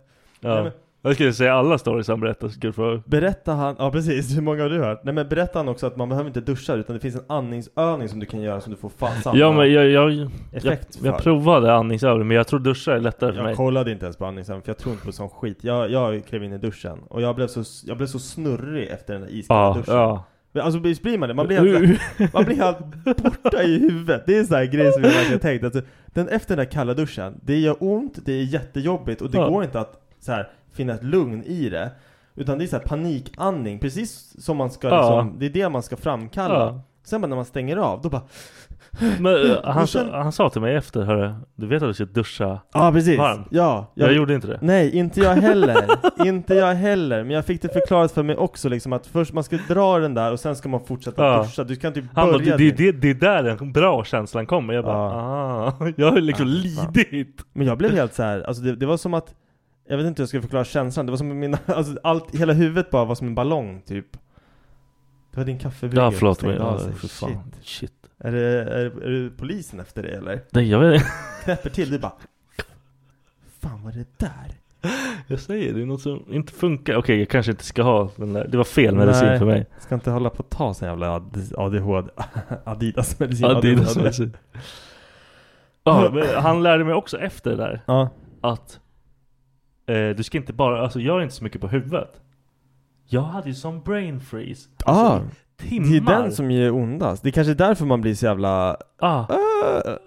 Speaker 1: Ja.
Speaker 4: men-
Speaker 1: Jag skulle säga alla stories han berättar. så skulle jag-
Speaker 4: Berättar han, ja precis, hur många har du hört? Nej men berättar han också att man behöver inte duscha utan det finns en andningsövning som du kan göra som du får fa- samma
Speaker 1: Ja men jag, jag, jag,
Speaker 4: effekt
Speaker 1: jag
Speaker 4: för.
Speaker 1: provade andningsövning men jag tror duscha är lättare för
Speaker 4: Jag
Speaker 1: mig.
Speaker 4: kollade inte ens på andningsövning för jag tror inte på sån skit. Jag, jag klev in i duschen och jag blev så, jag blev så snurrig efter den där iskalla
Speaker 1: Ja,
Speaker 4: duschen.
Speaker 1: ja. Uh,
Speaker 4: Men Alltså visst blir man det? Man blir helt, Man blir helt borta i huvudet. Det är en sån här grej som jag verkligen tänkt. Alltså, den, efter den där kalla duschen, det gör ont, det är jättejobbigt och det
Speaker 1: Ja.
Speaker 4: går inte att så här, finna ett lugn i det. Utan det är så här panikandning, precis som man ska
Speaker 1: Ja.
Speaker 4: liksom, det är det man ska framkalla.
Speaker 1: Ja.
Speaker 4: Sen bara när man stänger av, då bara
Speaker 1: Men eh, han,
Speaker 4: känner-
Speaker 1: sa- han sa till mig efter, hörru, du vet att du ska duscha?
Speaker 4: Ja precis!
Speaker 1: Varm.
Speaker 4: Ja,
Speaker 1: Jag gjorde inte det.
Speaker 4: Nej, inte jag heller. inte jag heller. Men jag fick det förklarat för mig också liksom att först man ska dra den där och sen ska man fortsätta
Speaker 1: Ja.
Speaker 4: duscha. Du kan typ
Speaker 1: Han bara,
Speaker 4: börja
Speaker 1: det, det,
Speaker 4: din-
Speaker 1: det, det är där den bra känslan kommer. Jag bara,
Speaker 4: Ja.
Speaker 1: ah. Jag har liksom
Speaker 4: fan.
Speaker 1: lidit.
Speaker 4: Men jag blev helt så här, alltså det, det var som att Jag vet inte hur jag ska förklara känslan, det var som att mina, alltså allt, hela huvudet bara var som en ballong typ Det var din kaffebryggare
Speaker 1: Ja,
Speaker 4: som
Speaker 1: förlåt
Speaker 4: stängde
Speaker 1: mig.
Speaker 4: av
Speaker 1: Ja,
Speaker 4: sig.
Speaker 1: för fan. Shit.
Speaker 4: Är, det, är, är det polisen efter det eller?
Speaker 1: Nej, jag, vet,
Speaker 4: Knäpper till, du bara Fan vad det där?
Speaker 1: jag säger det är något som inte funkar. Okej, jag kanske inte ska ha den där. Det var fel
Speaker 4: Nej.
Speaker 1: medicin för mig.
Speaker 4: Ska inte hålla på att ta sån jävla ad- ADHD Adidas medicin
Speaker 1: Adidas medicin. Ja, men han lärde mig också efter det där
Speaker 4: Ja,
Speaker 1: att eh, du ska inte bara, alltså gör inte så mycket på huvudet. Jag hade ju sån brain freeze.
Speaker 4: ah,
Speaker 1: Timmar.
Speaker 4: det är den som ger ondast Det är kanske är därför man blir så jävla
Speaker 1: Ah.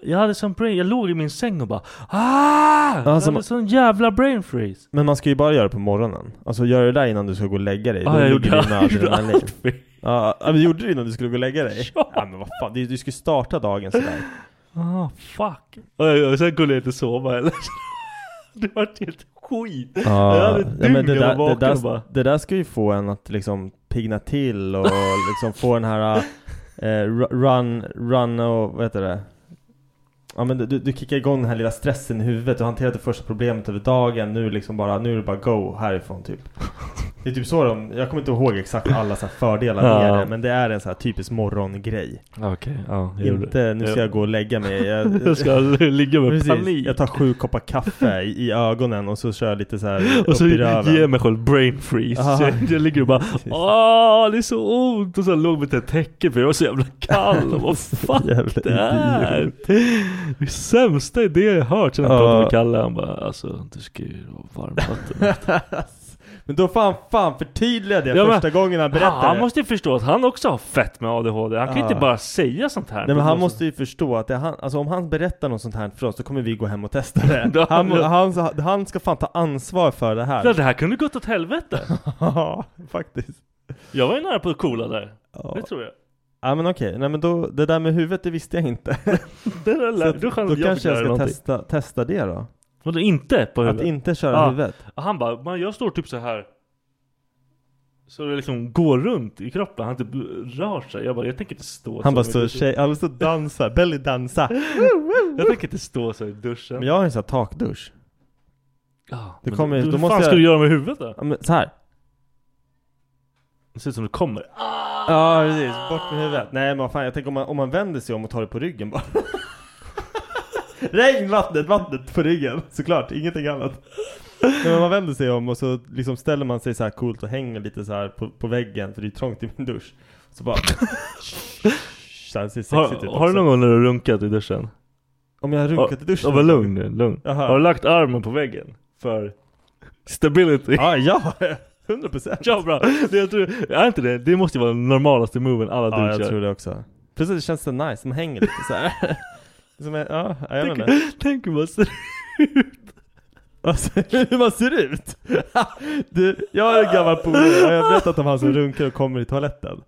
Speaker 1: Jag hade sån brain, jag låg i min säng och bara ah! Jag
Speaker 4: Alltså,
Speaker 1: hade
Speaker 4: man-
Speaker 1: sån jävla brain freeze.
Speaker 4: Men man ska ju bara göra det på morgonen. Alltså gör det där innan du ska gå och lägga dig.
Speaker 1: Ah,
Speaker 4: Då
Speaker 1: jag
Speaker 4: ligger
Speaker 1: gjorde-
Speaker 4: du med
Speaker 1: jag gjorde
Speaker 4: adrenalin.
Speaker 1: allt fel.
Speaker 4: Ja, ja, men gjorde du det innan du skulle gå och lägga dig?
Speaker 1: Ja.
Speaker 4: men vad fan, du, du ska ju starta dagen sådär.
Speaker 1: Ah fuck. Och jag, och sen kunde jag inte sova heller. Det var helt skit. Jag hade ett dygn
Speaker 4: det,
Speaker 1: jag var
Speaker 4: där, det,
Speaker 1: vaken och
Speaker 4: där,
Speaker 1: bara
Speaker 4: det där ska ju få en att liksom pigna till och liksom få den här eh, ru- run, run och vad heter det? Ja men du, du kickar igång den här lilla stressen i huvudet, du har hanterat det första problemet över dagen, nu liksom bara, nu är det bara go härifrån typ. Det är typ så de, jag kommer inte ihåg exakt alla så här fördelar med
Speaker 1: Ja.
Speaker 4: det, men det är en så här typisk morgongrej.
Speaker 1: Okej, ja. jag gjorde-
Speaker 4: Inte, nu ska
Speaker 1: Ja.
Speaker 4: jag gå och lägga mig. Jag,
Speaker 1: Jag ska ligga med
Speaker 4: Precis.
Speaker 1: panik.
Speaker 4: Jag tar sju koppar kaffe i, i ögonen och så kör jag lite så här upp
Speaker 1: Och så
Speaker 4: i röven.
Speaker 1: ger jag mig själv brain freeze.
Speaker 4: Aha.
Speaker 1: Så jag, jag ligger och bara
Speaker 4: Precis.
Speaker 1: Åh, det är så ont! Och så låg vi till ett täcke för jag var så jävla kall. Vad fan
Speaker 4: Jävla
Speaker 1: det här? Det är sämsta idé jag hört sen jag
Speaker 4: Ja.
Speaker 1: pratade med Kalle. Han bara alltså du ska ju ha varmvatten.
Speaker 4: Men då fan, fan förtydligade jag
Speaker 1: Ja, men-
Speaker 4: första gången han berättade
Speaker 1: Han
Speaker 4: det.
Speaker 1: måste ju förstå att han också har fett med ADHD. Han kan ju
Speaker 4: Ja.
Speaker 1: inte bara säga sånt här.
Speaker 4: Nej men han måste ju förstå att det, är han, alltså, om han berättar något sånt här för oss, då kommer vi gå hem och testa det.
Speaker 1: Ja,
Speaker 4: Han, må-
Speaker 1: ja.
Speaker 4: han, han ska fan ta ansvar för det
Speaker 1: Ja,
Speaker 4: här.
Speaker 1: det här kunde gått åt helvete.
Speaker 4: Ja, faktiskt.
Speaker 1: Jag var ju nära på att coola där.
Speaker 4: Ja.
Speaker 1: Det tror jag.
Speaker 4: ja men okej, nej men då, det där med huvudet det visste jag inte.
Speaker 1: Det där
Speaker 4: Så
Speaker 1: lär,
Speaker 4: att,
Speaker 1: då
Speaker 4: då
Speaker 1: kan jag
Speaker 4: kanske jag ska
Speaker 1: någonting.
Speaker 4: testa, testa det då.
Speaker 1: Vadå inte på
Speaker 4: Att
Speaker 1: huvudet?
Speaker 4: inte köra
Speaker 1: Ja.
Speaker 4: huvudet.
Speaker 1: Och Han bara, man jag står typ så här Så det liksom går runt i kroppen, han typ rör sig Jag bara, jag tänker inte stå
Speaker 4: Han
Speaker 1: så
Speaker 4: bara
Speaker 1: i
Speaker 4: står och
Speaker 1: duschen.
Speaker 4: tjej, han bara står och dansar, belly dansa.
Speaker 1: Jag tänker inte stå så i duschen
Speaker 4: Men jag har ju en sån här takdusch.
Speaker 1: ja,
Speaker 4: det
Speaker 1: men
Speaker 4: kommer-
Speaker 1: du,
Speaker 4: då
Speaker 1: Vad
Speaker 4: måste
Speaker 1: fan
Speaker 4: jag-
Speaker 1: ska du göra med huvudet då?
Speaker 4: Ja, men så här.
Speaker 1: Det ser ut som du kommer
Speaker 4: Ja precis, bort
Speaker 1: Ah.
Speaker 4: med huvudet. Nej men vad fan, jag tänker om man, om man vänder sig om och tar det på ryggen bara. Regn, vattnet, vattnet på ryggen. Såklart, ingenting annat. Nej, men man vänder sig om och så liksom ställer man sig så här coolt och hänger lite så här på, på väggen för det är trångt i min dusch. Så bara... så här ser sexigt ut
Speaker 1: har, har du
Speaker 4: också.
Speaker 1: någon gång när du runkat i duschen?
Speaker 4: Om jag har runkat i duschen?
Speaker 1: Ja, var lugn nu, lugn
Speaker 4: Jaha.
Speaker 1: Har du lagt armen på väggen? För stability?
Speaker 4: Ja, ja! 100 procent!
Speaker 1: Ja bra, det, jag tror, är inte det? Det måste ju vara den normalaste moven alla
Speaker 4: Ja,
Speaker 1: duschar
Speaker 4: jag tror det också. Precis, det känns så nice. De hänger lite så här. Som en, ja, jag vet
Speaker 1: Tänk,
Speaker 4: inte.
Speaker 1: tänk hur man ser ut
Speaker 4: Alltså, hur man ser ut! du, jag har en gammal polare, och jag har berättat om han som runkar och kommer i toaletten.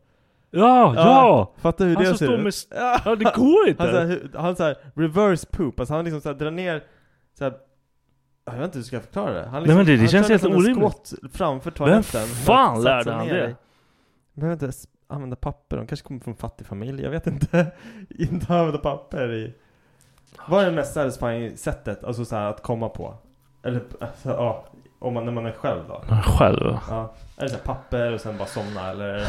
Speaker 1: Ja, ja!
Speaker 4: Fattar hur
Speaker 1: Han
Speaker 4: det
Speaker 1: som
Speaker 4: ser
Speaker 1: står
Speaker 4: ut?
Speaker 1: med... st- Ja det går inte!
Speaker 4: Han så här, hur- han så här, reverse poop, alltså han liksom så här, drar ner så här, jag vet inte hur jag ska förklara det. Han liksom,
Speaker 1: men det- det
Speaker 4: han
Speaker 1: känns
Speaker 4: kör
Speaker 1: helt
Speaker 4: nästan en
Speaker 1: orimligt.
Speaker 4: squat framför toaletten.
Speaker 1: fan
Speaker 4: Satsar
Speaker 1: lärde han
Speaker 4: ner
Speaker 1: det?
Speaker 4: dig. Behöver inte s- använda papper, de kanske kommer från fattig familj, jag vet inte. inte använda papper i... Vad är det mest satisfying sättet, alltså så här, att komma på? Eller alltså, ja, om man, när man är själv då?
Speaker 1: Själv?
Speaker 4: Ja. Är det så här papper och sen bara somna eller är det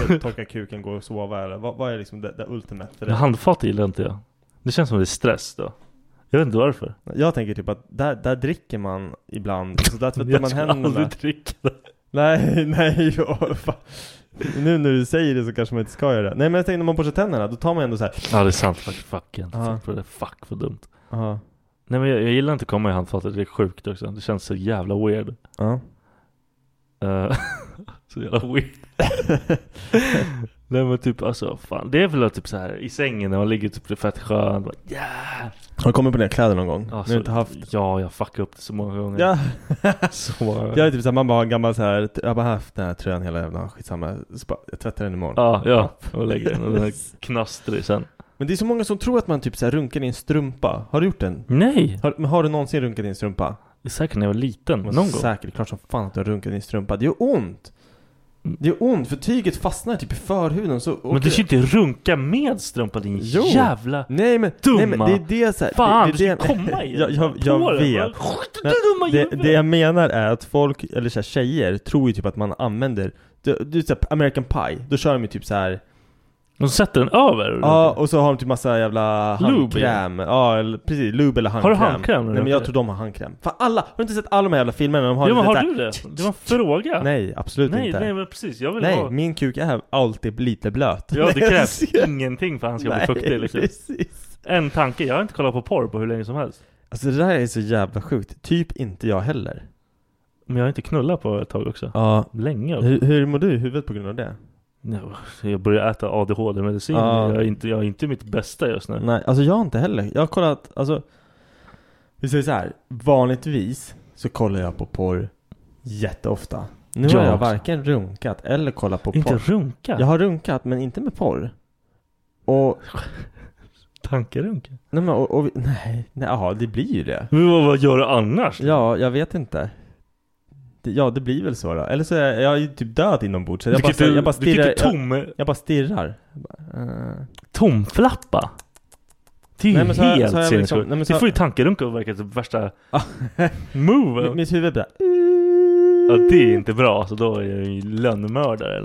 Speaker 4: papper, torka kuken, gå och sova eller vad, vad är liksom det, det ultimate för
Speaker 1: Men
Speaker 4: det?
Speaker 1: handfat gillar inte jag. Det känns som det är stress då. Jag vet inte varför.
Speaker 4: Jag tänker typ att där, där dricker man ibland, så där tvättar
Speaker 1: jag
Speaker 4: man
Speaker 1: skulle aldrig
Speaker 4: händerna.
Speaker 1: dricka det.
Speaker 4: Nej, nej, åh, fan. Nu när du säger det så kanske man inte ska göra det. Nej men jag tänker när man borstar tänderna, då tar man ändå så här.
Speaker 1: Ja det är sant faktiskt. Fuck jag har
Speaker 4: Ja.
Speaker 1: inte tänkt på det. Fuck vad dumt.
Speaker 4: Ja.
Speaker 1: Nej men jag, jag gillar inte att komma i handfatet. Det är sjukt också. Det känns så jävla weird.
Speaker 4: Ja.
Speaker 1: Eh, så jävla weird. Nej men typ alltså fan. Det är väl typ så här i sängen när man ligger typ fett skön. Bara, yeah.
Speaker 4: Har du kommit på dina kläder någon gång?
Speaker 1: Alltså,
Speaker 4: nu har du inte haft...
Speaker 1: Ja jag fuckade upp det så många gånger.
Speaker 4: Ja.
Speaker 1: Så många gånger.
Speaker 4: Jag är typ såhär, man bara har en gammal såhär, jag har bara haft den här tröjan hela jävla skitsamma, så bara, jag tvättar den imorgon.
Speaker 1: Ja, ja. Och lägger den och den är knastrig sen.
Speaker 4: Men det är så många som tror att man typ såhär runkar i en strumpa. Har du gjort den?
Speaker 1: Nej!
Speaker 4: Har, men har du någonsin runkat i en strumpa?
Speaker 1: Det är säkert när jag var liten. Någon gång.
Speaker 4: Säkert, klart som fan att du har runkat i din strumpa. Det gör ont! Det gör ont för tyget fastnar typ i förhuden så åker
Speaker 1: Mm. Men du ska inte runka med strumpa din
Speaker 4: Jo.
Speaker 1: jävla...
Speaker 4: Nej men, nej, men
Speaker 1: Dumma.
Speaker 4: det är det så här,
Speaker 1: Fan,
Speaker 4: det, det,
Speaker 1: du ska komma i
Speaker 4: jag, jag,
Speaker 1: den. På
Speaker 4: jag
Speaker 1: den,
Speaker 4: vet.
Speaker 1: va? Skjut
Speaker 4: Men
Speaker 1: du dumma
Speaker 4: Det, det
Speaker 1: jävel!
Speaker 4: jag menar är att folk, eller så här, tjejer, tror ju typ att man använder du, du, så här, American Pie, då kör de ju typ så här.
Speaker 1: De sätter den över.
Speaker 4: Ja, och så har de typ massa jävla
Speaker 1: Lube,
Speaker 4: handkräm Ja, eller, precis, lube eller
Speaker 1: du
Speaker 4: handkräm
Speaker 1: handkräm eller
Speaker 4: Nej men jag
Speaker 1: något?
Speaker 4: tror de har handkräm Fan alla, har du inte sett alla de här jävla filmerna? De har
Speaker 1: ja, men
Speaker 4: lite
Speaker 1: har
Speaker 4: så här-
Speaker 1: du det? Det var en fråga.
Speaker 4: Nej, absolut
Speaker 1: nej,
Speaker 4: inte
Speaker 1: nej men precis. Jag vill
Speaker 4: Nej,
Speaker 1: ha...
Speaker 4: min kuk är alltid lite blöt
Speaker 1: Ja, det
Speaker 4: Nej,
Speaker 1: krävs
Speaker 4: jag ser-
Speaker 1: ingenting för att han ska bli
Speaker 4: Nej,
Speaker 1: fuktig liksom.
Speaker 4: precis
Speaker 1: En tanke. Jag har inte kollat på porr på hur länge som helst.
Speaker 4: Alltså det där är så jävla sjukt, typ inte jag heller
Speaker 1: Men jag har inte knullat på ett tag också.
Speaker 4: Ja
Speaker 1: Länge.
Speaker 4: hur, hur mår du i huvudet på grund av det?
Speaker 1: Ja, Jag börjar äta ADHD-medicin.
Speaker 4: Ja.
Speaker 1: Jag, är inte, jag är inte mitt bästa just nu.
Speaker 4: Nej, alltså jag har inte heller. Jag har kollat, alltså Vi säger så här. vanligtvis så kollar jag på porr jätteofta. Nu
Speaker 1: Jag
Speaker 4: har jag
Speaker 1: också.
Speaker 4: varken runkat eller kollat på
Speaker 1: Inte
Speaker 4: porr.
Speaker 1: runka.
Speaker 4: Jag har runkat men inte med porr. Och,
Speaker 1: Tankerunk?
Speaker 4: nej men och, och nej, nej, jaha det blir ju det.
Speaker 1: Men vad, vad gör du annars?
Speaker 4: Ja, jag vet inte. Det, ja, det blir väl så då. Eller så är jag, jag är ju typ död inombords. Så
Speaker 1: du
Speaker 4: jag,
Speaker 1: kan
Speaker 4: bara,
Speaker 1: inte,
Speaker 4: jag bara stirrar.
Speaker 1: du kan
Speaker 4: jag,
Speaker 1: inte tom,
Speaker 4: jag bara stirrar. Jag bara, eh.
Speaker 1: tomflappa. Det är
Speaker 4: Nej,
Speaker 1: ju
Speaker 4: men så har jag-
Speaker 1: helt
Speaker 4: så har jag
Speaker 1: sinnessjukt.
Speaker 4: liksom- nej, men så
Speaker 1: Det
Speaker 4: har-
Speaker 1: får ju tankerunka och verkar som värsta
Speaker 4: Ja.
Speaker 1: move.
Speaker 4: Mitt- Mitt huvud blir
Speaker 1: Ja, det är inte bra. Så då är jag ju lönnmördare.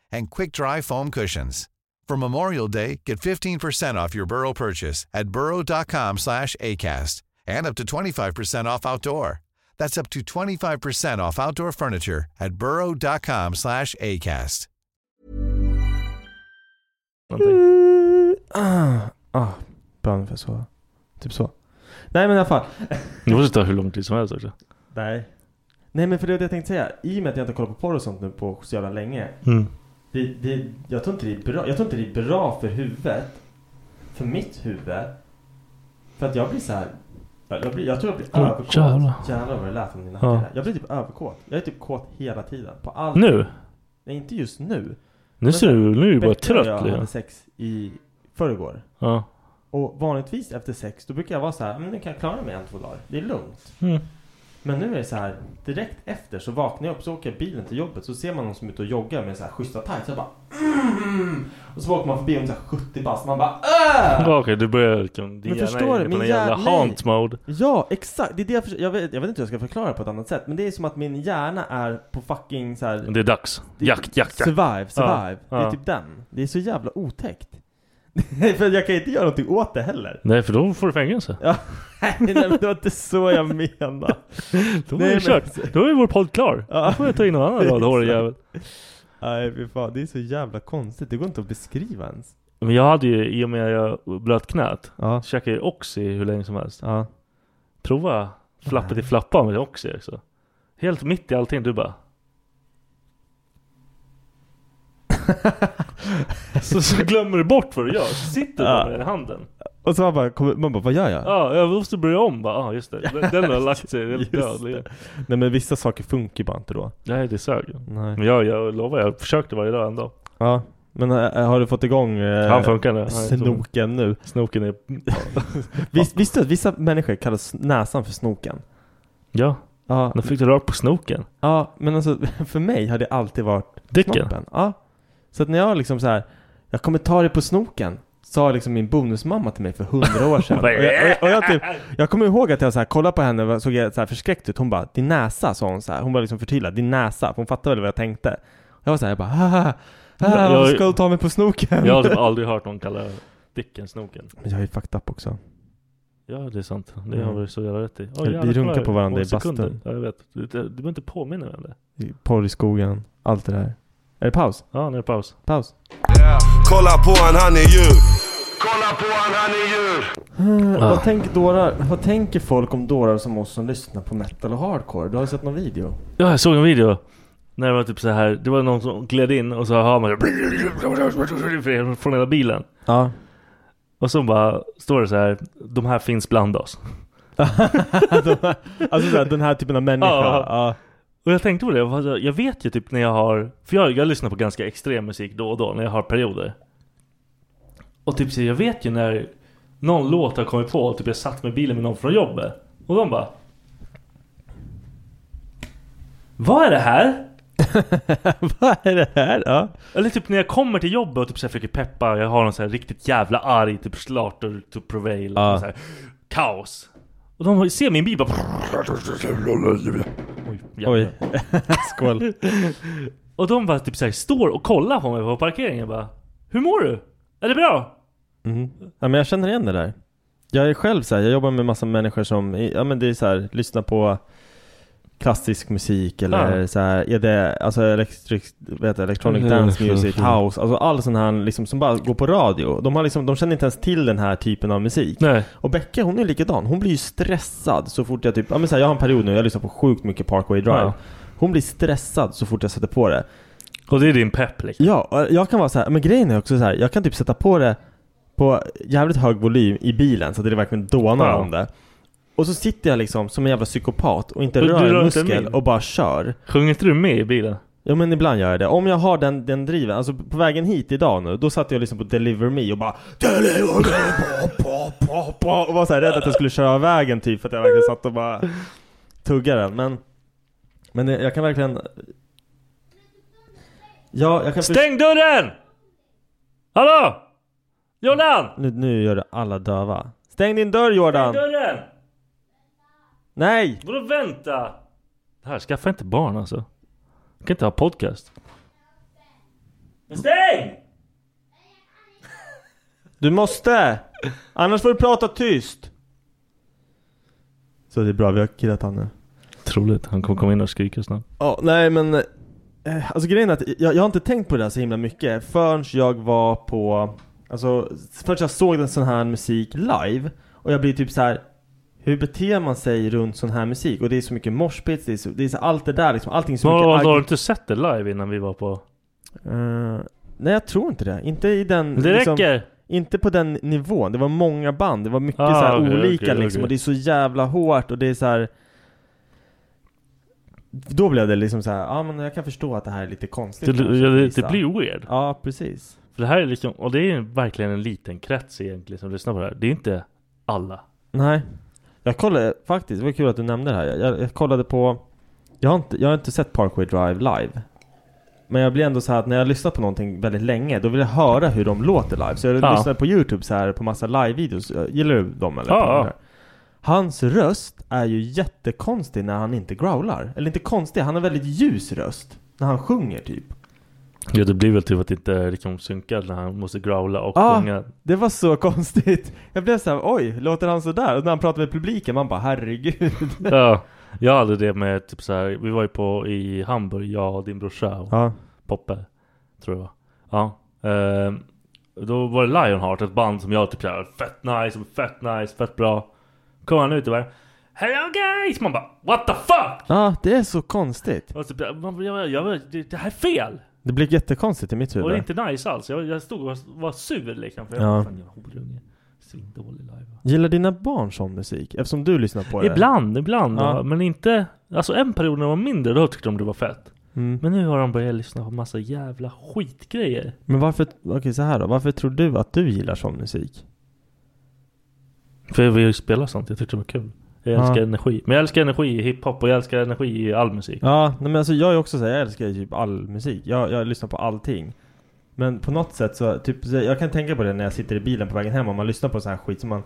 Speaker 5: and quick-dry foam cushions. For Memorial Day, get 15% off your Burrow purchase at burrow.com/acast and up to 25% off outdoor. That's up to 25% off outdoor furniture at burrow.com/acast.
Speaker 4: Ah, ah, bra ungefär så. Typ så. Nej men i alla fall.
Speaker 1: Det måste ta hur lång tid som helst också.
Speaker 4: Nej. Nej men för det var det jag tänkte säga. I och med att jag inte kollar på porr och sånt nu på så jävla länge.
Speaker 1: Mm.
Speaker 4: Det, det, jag, tror inte det är bra, jag tror inte det är bra för huvudet. För mitt huvud. För att jag blir så här. Jag, jag, blir, jag tror jag blir
Speaker 1: Åh,
Speaker 4: överkåt.
Speaker 1: jävlar.
Speaker 4: Jävlar vad det lät från dina
Speaker 1: Ja.
Speaker 4: ja. Jag blir typ överkåt. Jag är typ kåt hela tiden. På allt.
Speaker 1: Nu?
Speaker 4: Nej inte just nu.
Speaker 1: Nu ser du, nu är du bara
Speaker 4: Becka och
Speaker 1: trött
Speaker 4: jag
Speaker 1: liksom.
Speaker 4: hade sex i förrgår.
Speaker 1: Ja.
Speaker 4: Och vanligtvis efter sex då brukar jag vara så här, men nu kan jag klara mig en, två dagar. Det är lugnt.
Speaker 1: Mm.
Speaker 4: Men nu är det så här, direkt efter så vaknar jag upp, så åker jag bilen till jobbet, så ser man någon som är ute och joggar med så här schyssta tights. Jag bara mm! Och så åker man förbi om så här 70 bast, man bara
Speaker 1: Ja,
Speaker 4: äh!
Speaker 1: Okej, du börjar liksom...
Speaker 4: Men förstår du?
Speaker 1: På
Speaker 4: Min
Speaker 1: någon jävla
Speaker 4: hjärna-
Speaker 1: haunt mode.
Speaker 4: Ja, exakt! Det är det jag, försöker, jag, vet, jag vet inte hur jag ska förklara på ett annat sätt, men det är som att min hjärna är på fucking så här
Speaker 1: Det är dags.
Speaker 4: Det-
Speaker 1: Jakt, jakt, jakt.
Speaker 4: Survive, survive.
Speaker 1: Ja,
Speaker 4: Det är
Speaker 1: ja.
Speaker 4: typ den. Det är så jävla otäckt. För jag kan inte göra någonting åt det heller.
Speaker 1: Nej, för då får du fängelse.
Speaker 4: Nej, men det var inte så jag menade.
Speaker 1: Då
Speaker 4: Nej,
Speaker 1: är
Speaker 4: men-
Speaker 1: det kört. Då är vår podd klar.
Speaker 4: Ja.
Speaker 1: Då får jag ta in någon annan rad hårjävel.
Speaker 4: Nej fy fan, det är så jävla konstigt. Det går inte att beskriva ens.
Speaker 1: Men jag hade ju, i och med att jag blöt knät,
Speaker 4: Ja.
Speaker 1: käkade jag Oxy hur länge som helst.
Speaker 4: Ja.
Speaker 1: Prova flappa till flappa med Oxy också. Helt mitt i allting, du bara... så, så glömmer du bort vad du gör, så sitter du
Speaker 4: Ja.
Speaker 1: bara med den i handen.
Speaker 4: Och så man bara, kommer- man bara, vad gör jag?
Speaker 1: Ja, jag måste börja om bara. Ja, just det. Den- Den har lagt sig helt
Speaker 4: Just
Speaker 1: död.
Speaker 4: det. Nej men vissa saker funkar bara inte då.
Speaker 1: Nej, det sög ju.
Speaker 4: Nej.
Speaker 1: Men jag, jag lovar, jag försökte varje dag ändå.
Speaker 4: Ja. Men äh, har du fått igång eh,
Speaker 1: Han funkar nu. Han är tom.
Speaker 4: snoken nu?
Speaker 1: Snoken är...
Speaker 4: Vis, visste du att vissa människor kallar s- näsan för snoken?
Speaker 1: Ja,
Speaker 4: Ja.
Speaker 1: nu fick du rakt på snoken.
Speaker 4: Ja, men alltså för mig har det alltid varit
Speaker 1: Dicken.
Speaker 4: snoppen. Ja. Så att när jag liksom så här, jag kommer ta dig på snoken. Sa liksom min bonusmamma till mig för hundra år sedan. och jag, och jag, och jag, typ, jag kommer ihåg att jag så här, kollade på henne och såg jag så här förskräckt ut. Hon bara, din näsa sa hon så här. Hon var liksom förtvivlad, din näsa. För hon fattade väl vad jag tänkte. Jag var så här, jag bara, haha, haha,
Speaker 1: Jag-
Speaker 4: varför ska du ta mig på snoken?
Speaker 1: Jag har typ aldrig hört någon kalla Dicken snoken.
Speaker 4: Men jag är ju fucked up också.
Speaker 1: Ja, det är sant. Det har
Speaker 4: Mm.
Speaker 1: vi så jävla rätt i. Åh,
Speaker 4: Vi
Speaker 1: jävlar,
Speaker 4: runkar
Speaker 1: kolla,
Speaker 4: på varandra
Speaker 1: många
Speaker 4: i bastun.
Speaker 1: sekunder. Ja, jag vet. Du, du behöver inte påminna mig om det.
Speaker 4: Porr i skogen, allt det där. Är det paus?
Speaker 1: Ja, nu är det paus.
Speaker 4: Paus.
Speaker 3: Kolla på han, han är djur. Kolla på han, han är djur.
Speaker 4: Vad, tänker dårar, vad tänker folk om dårar som oss som lyssnar på metal och hardcore? Du har ju sett någon video?
Speaker 1: Ja, jag såg en video. När det var typ så här. Det var någon som gled in och så hör man det från hela bilen.
Speaker 4: Ja.
Speaker 1: Och så bara står det så här. De här finns bland oss.
Speaker 4: Alltså såhär, den här typen av människa.
Speaker 1: Ja.
Speaker 4: Ja.
Speaker 1: Och jag tänkte på det, alltså, jag vet ju typ när jag har, för jag, jag lyssnar på ganska extrem musik då och då när jag har perioder. Och typ så jag vet ju när någon låt har kommit på, typ jag satt med bilen med någon från jobbet. Och de bara... Vad är det här?
Speaker 4: Vad är det här? Ja.
Speaker 1: Eller typ när jag kommer till jobbet och typ så här försöker peppa, jag har någon så här riktigt jävla arg typ Slater to prevail,
Speaker 4: Ja.
Speaker 1: och så här, kaos. Och de ser min bil bara... Oj, jävlar.
Speaker 4: Oj. Skål.
Speaker 1: Och de bara typ så här, står och kollar på mig på parkeringen bara Hur mår du? Är det bra?
Speaker 4: Mm. Ja, men jag känner igen det där. Jag är själv så här, jag jobbar med massa människor som, ja men det är så här, lyssna på klassisk musik eller
Speaker 1: Ja.
Speaker 4: så här, är det, alltså electric, vad heter det, electronic
Speaker 1: Mm,
Speaker 4: dance music,
Speaker 1: mm, mm.
Speaker 4: house, alltså all sån här liksom som bara går på radio. De har liksom, de känner inte ens till den här typen av musik.
Speaker 1: Nej
Speaker 4: Och Becka hon är likadan, hon blir ju stressad så fort jag typ, ja men så här, jag har en period nu, jag lyssnar på sjukt mycket Parkway Drive.
Speaker 1: Ja.
Speaker 4: Hon blir stressad så fort jag sätter på det.
Speaker 1: Och det är din pepp liksom
Speaker 4: Ja, och jag kan vara så här, men grejen är också så här, jag kan typ sätta på det på jävligt hög volym i bilen så att det verkligen dånar
Speaker 1: Ja.
Speaker 4: om det. Och så sitter jag liksom som en jävla psykopat och inte
Speaker 1: Du- du
Speaker 4: rör
Speaker 1: rör
Speaker 4: en
Speaker 1: inte
Speaker 4: muskel
Speaker 1: min.
Speaker 4: och bara kör.
Speaker 1: Sjunger inte du med i bilen?
Speaker 4: Ja men ibland gör jag det. Om jag har den, den driven, alltså på vägen hit idag nu, då satt jag liksom på Deliver Me och bara Deliver me, pa, pa, pa, pa, Och var såhär rädd att jag skulle köra av vägen typ för att jag verkligen satt och bara tuggade den. Men, men det, jag kan verkligen... Ja, jag kan... för-
Speaker 1: Stäng dörren! Hallå! Jordan!
Speaker 4: Nu, nu gör du alla döva. Stäng din dörr Jordan!
Speaker 1: Dörren!
Speaker 4: Nej!
Speaker 1: Vadå vänta? Det här, skaffa inte barn alltså. Du kan inte ha podcast. Men stäng!
Speaker 4: Du måste! Annars får du prata tyst! Så det är bra, vi har killat han nu.
Speaker 1: Troligt, han kommer komma in och skrika snabbt.
Speaker 4: Ja, nej men eh, Alltså grejen är att jag, jag har inte tänkt på det där så himla mycket förrän jag var på Alltså förrän jag såg den sån här musik live Och jag blir typ så här. Hur beter man sig runt sån här musik? Och det är så mycket moshpits, det är så, det är så allt det där liksom, allting är så
Speaker 1: Har,
Speaker 4: mycket
Speaker 1: har du
Speaker 4: agg- Mm,
Speaker 1: inte sett det live innan vi var på...
Speaker 4: Eh, Nej jag tror inte det, inte i den liksom-
Speaker 1: Det räcker!
Speaker 4: Inte på den nivån, det var många band, det var mycket
Speaker 1: Ah,
Speaker 4: så här
Speaker 1: okej,
Speaker 4: olika
Speaker 1: okej,
Speaker 4: liksom
Speaker 1: okej.
Speaker 4: och det är så jävla hårt och det är så här. Då blev det liksom så här, ja men jag kan förstå att det här är lite konstigt
Speaker 1: Det,
Speaker 4: kanske,
Speaker 1: det, det,
Speaker 4: vissa.
Speaker 1: blir weird.
Speaker 4: Ja precis
Speaker 1: För det här är liksom, och det är ju verkligen en liten krets egentligen som lyssnar på det här. Det är inte alla.
Speaker 4: Nej Jag kollade faktiskt, det var kul att du nämnde det här Jag, jag kollade på jag har, inte, jag har inte sett Parkway Drive live Men jag blir ändå så här att när jag lyssnar på någonting väldigt länge Då vill jag höra hur de låter live Så jag
Speaker 1: Ja.
Speaker 4: lyssnade på youtube så här på massa live-videos Gillar du dem eller?
Speaker 1: Ja, ja.
Speaker 4: Hans röst är ju jättekonstig när han inte growlar Eller inte konstig, han har väldigt ljus röst När han sjunger typ
Speaker 1: Ja det blir väl typ att det inte liksom synkar när han måste growla och
Speaker 4: Ah.
Speaker 1: sjunga.
Speaker 4: Det var så konstigt. Jag blev såhär, oj, låter han sådär? Och när han pratade med publiken, man bara herregud.
Speaker 1: Ja. Jag hade det med typ så här, vi var ju på i Hamburg, jag och din brorsa och
Speaker 4: Ja.
Speaker 1: Poppe, tror jag det var. Ja. Ehm, då var det Lionheart, ett band som jag typ såhär, fett nice, fett nice, fett bra. Kom han ut och bara Hello guys! Man bara What the fuck!
Speaker 4: Ja, det är så konstigt.
Speaker 1: Och typ, jag, jag, jag, det, det här är fel!
Speaker 4: Det blir jättekonstigt i mitt
Speaker 1: Och
Speaker 4: huvud.
Speaker 1: det är inte nice alls. Jag, jag stod och var, var sur liksom. För jag
Speaker 4: Ja.
Speaker 1: var fan jävla horunge. Svindålig live.
Speaker 4: Gillar dina barn sån musik? Eftersom du lyssnar på det.
Speaker 1: Ibland, ibland.
Speaker 4: Ja.
Speaker 1: va, Men inte... Alltså en period när de var mindre, då tyckte de det var fett.
Speaker 4: Mm.
Speaker 1: Men nu har de börjat lyssna på massa jävla skitgrejer.
Speaker 4: Men varför, okej så här då. Varför tror du att du gillar sån musik?
Speaker 1: För jag vill spela sånt, jag tyckte det var kul. Jag
Speaker 4: Ja.
Speaker 1: älskar energi. Men jag älskar energi i hiphop och jag älskar energi i all musik.
Speaker 4: Ja, nej, men alltså jag är också såhär, jag älskar ju typ all musik. Jag, jag lyssnar på allting. Men på något sätt så, typ, så jag kan tänka på det när jag sitter i bilen på vägen hem och man lyssnar på sån här skit som man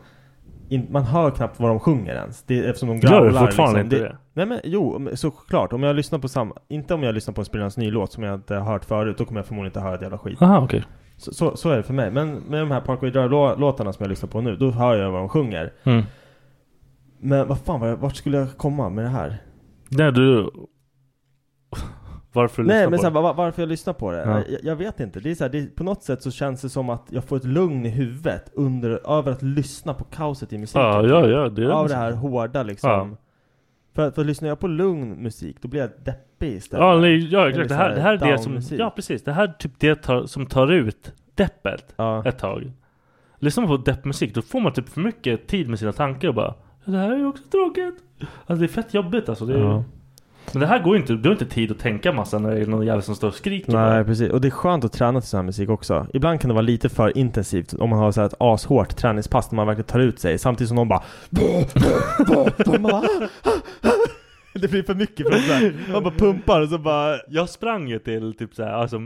Speaker 4: in, man hör knappt vad de sjunger ens. Det är, eftersom de
Speaker 1: Gör
Speaker 4: growlar
Speaker 1: du fortfarande
Speaker 4: liksom.
Speaker 1: inte det?
Speaker 4: Nej men jo, men såklart. Om jag lyssnar på samma... Inte om jag lyssnar på en spelarens ny låt som jag inte har hört förut. Då kommer jag förmodligen inte höra ett jävla skit.
Speaker 1: Aha, okej.
Speaker 4: Så, så, så är det för mig. Men med de här Parkway Drive-låtarna som jag lyssnar på nu, då hör jag vad de sjunger.
Speaker 1: Mm.
Speaker 4: Men vad fan, var jag- vart skulle jag komma med det här?
Speaker 1: Nej du... Varför lyssnar
Speaker 4: Nej
Speaker 1: på
Speaker 4: men
Speaker 1: det?
Speaker 4: såhär, var, varför jag lyssnar på det?
Speaker 1: Ja.
Speaker 4: Jag, jag vet inte. Det är så här, det, på något sätt så känns det som att jag får ett lugn i huvudet under, över att lyssna på kaoset i musiken. typ.
Speaker 1: Ja, ja, ja. Det är
Speaker 4: Av det här hårda liksom.
Speaker 1: Ja.
Speaker 4: För, för lyssnar jag på lugn musik, då blir jag deppig istället.
Speaker 1: Ja, nej, ja exakt. Det
Speaker 4: Eller
Speaker 1: här,
Speaker 4: så
Speaker 1: det
Speaker 4: här
Speaker 1: här är det som...
Speaker 4: down-musik.
Speaker 1: Ja, precis. Det här är typ det tar, som tar ut deppet
Speaker 4: Ja.
Speaker 1: ett tag. Lyssnar man på deppmusik då får man typ för mycket tid med sina tankar och bara Det här är ju också tråkigt. Alltså det är fett jobbigt alltså. Det är,
Speaker 4: Ja.
Speaker 1: Men det här går ju inte. Du har inte tid att tänka massa när det är någon jävel som står och skriker.
Speaker 4: Nej
Speaker 1: bara.
Speaker 4: precis, och det är skönt att träna till sån här musik också. Ibland kan det vara lite för intensivt om man har så här ett ashårt träningspass när man verkligen tar ut sig samtidigt som någon bara Det blir för mycket för att så här- man bara pumpar och så bara
Speaker 1: Jag sprang ju till typ såhär, alltså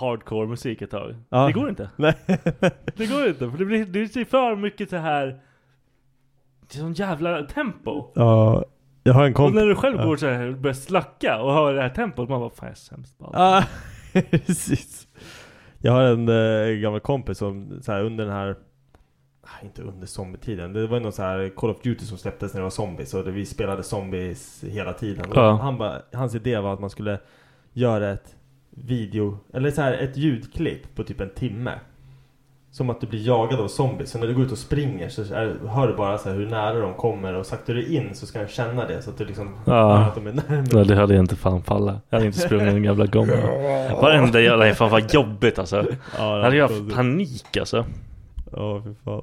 Speaker 1: hardcore musik ett tag.
Speaker 4: Ja.
Speaker 1: Det går inte.
Speaker 4: Nej.
Speaker 1: Det går inte. För det blir, det blir för mycket så här. Det är sån jävla tempo.
Speaker 4: Ja, jag har en
Speaker 1: Och
Speaker 4: kompis
Speaker 1: när du själv går så här och börjar slacka och hör det här tempot, man bara fan jag är sämst på allt.
Speaker 4: Ja, precis. Jag har en eh, gammal kompis som så här, under den här Ah, inte under zombietiden. Det var någon så här Call of Duty som släpptes när det var zombies och det, vi spelade zombies hela tiden. Och
Speaker 1: Ja.
Speaker 4: Han bara, hans idé var att man skulle göra ett video, eller så här ett ljudklipp på typ en timme. Som att du blir jagad av zombies. Så när du går ut och springer så är, hör du bara så här hur nära de kommer och saktar du in så ska du känna det så att du liksom
Speaker 1: Ja.
Speaker 4: hör att de är närmare.
Speaker 1: Nej det hade jag inte fan fallit. Jag hade inte sprungit den jävla gången. Varenda jävla, nej fan vad jobbigt alltså.
Speaker 4: Ja,
Speaker 1: Jag hade ju haft
Speaker 4: konstigt.
Speaker 1: panik alltså. Ah,
Speaker 4: Ja, fy fan.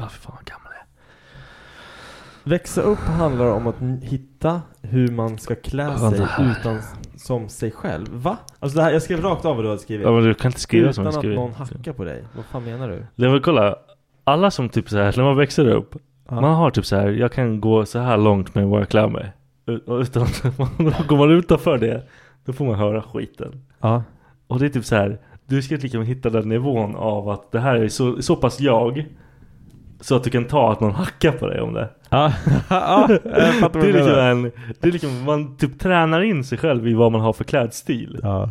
Speaker 1: Ja fy fan vad gammal jag är.
Speaker 4: Växa upp handlar om att n- hitta hur man ska klä
Speaker 1: Vänta
Speaker 4: sig
Speaker 1: här.
Speaker 4: utan s- som sig själv. Va? Alltså det här, jag skrev rakt av vad du hade skrivit.
Speaker 1: Ja, men du kan inte skriva
Speaker 4: utan
Speaker 1: som jag
Speaker 4: att
Speaker 1: skriver.
Speaker 4: någon hackar på dig. Vad fan menar du?
Speaker 1: Jag vill kolla, alla som typ så här, när man växer upp, man har typ så här, jag kan gå så här långt med vad jag klär mig. Ut- och Utan, går man utanför det, då får man höra skiten.
Speaker 4: Ja.
Speaker 1: Och det är typ så här, du ska lika gärna hitta den nivån av att det här är så, så pass jag, så att du kan ta att någon hackar på dig om det.
Speaker 4: Ja, ja jag fattar vad
Speaker 1: det,
Speaker 4: du
Speaker 1: är liksom
Speaker 4: menar.
Speaker 1: en, det är liksom, man typ tränar in sig själv i vad man har för klädstil.
Speaker 4: Ja.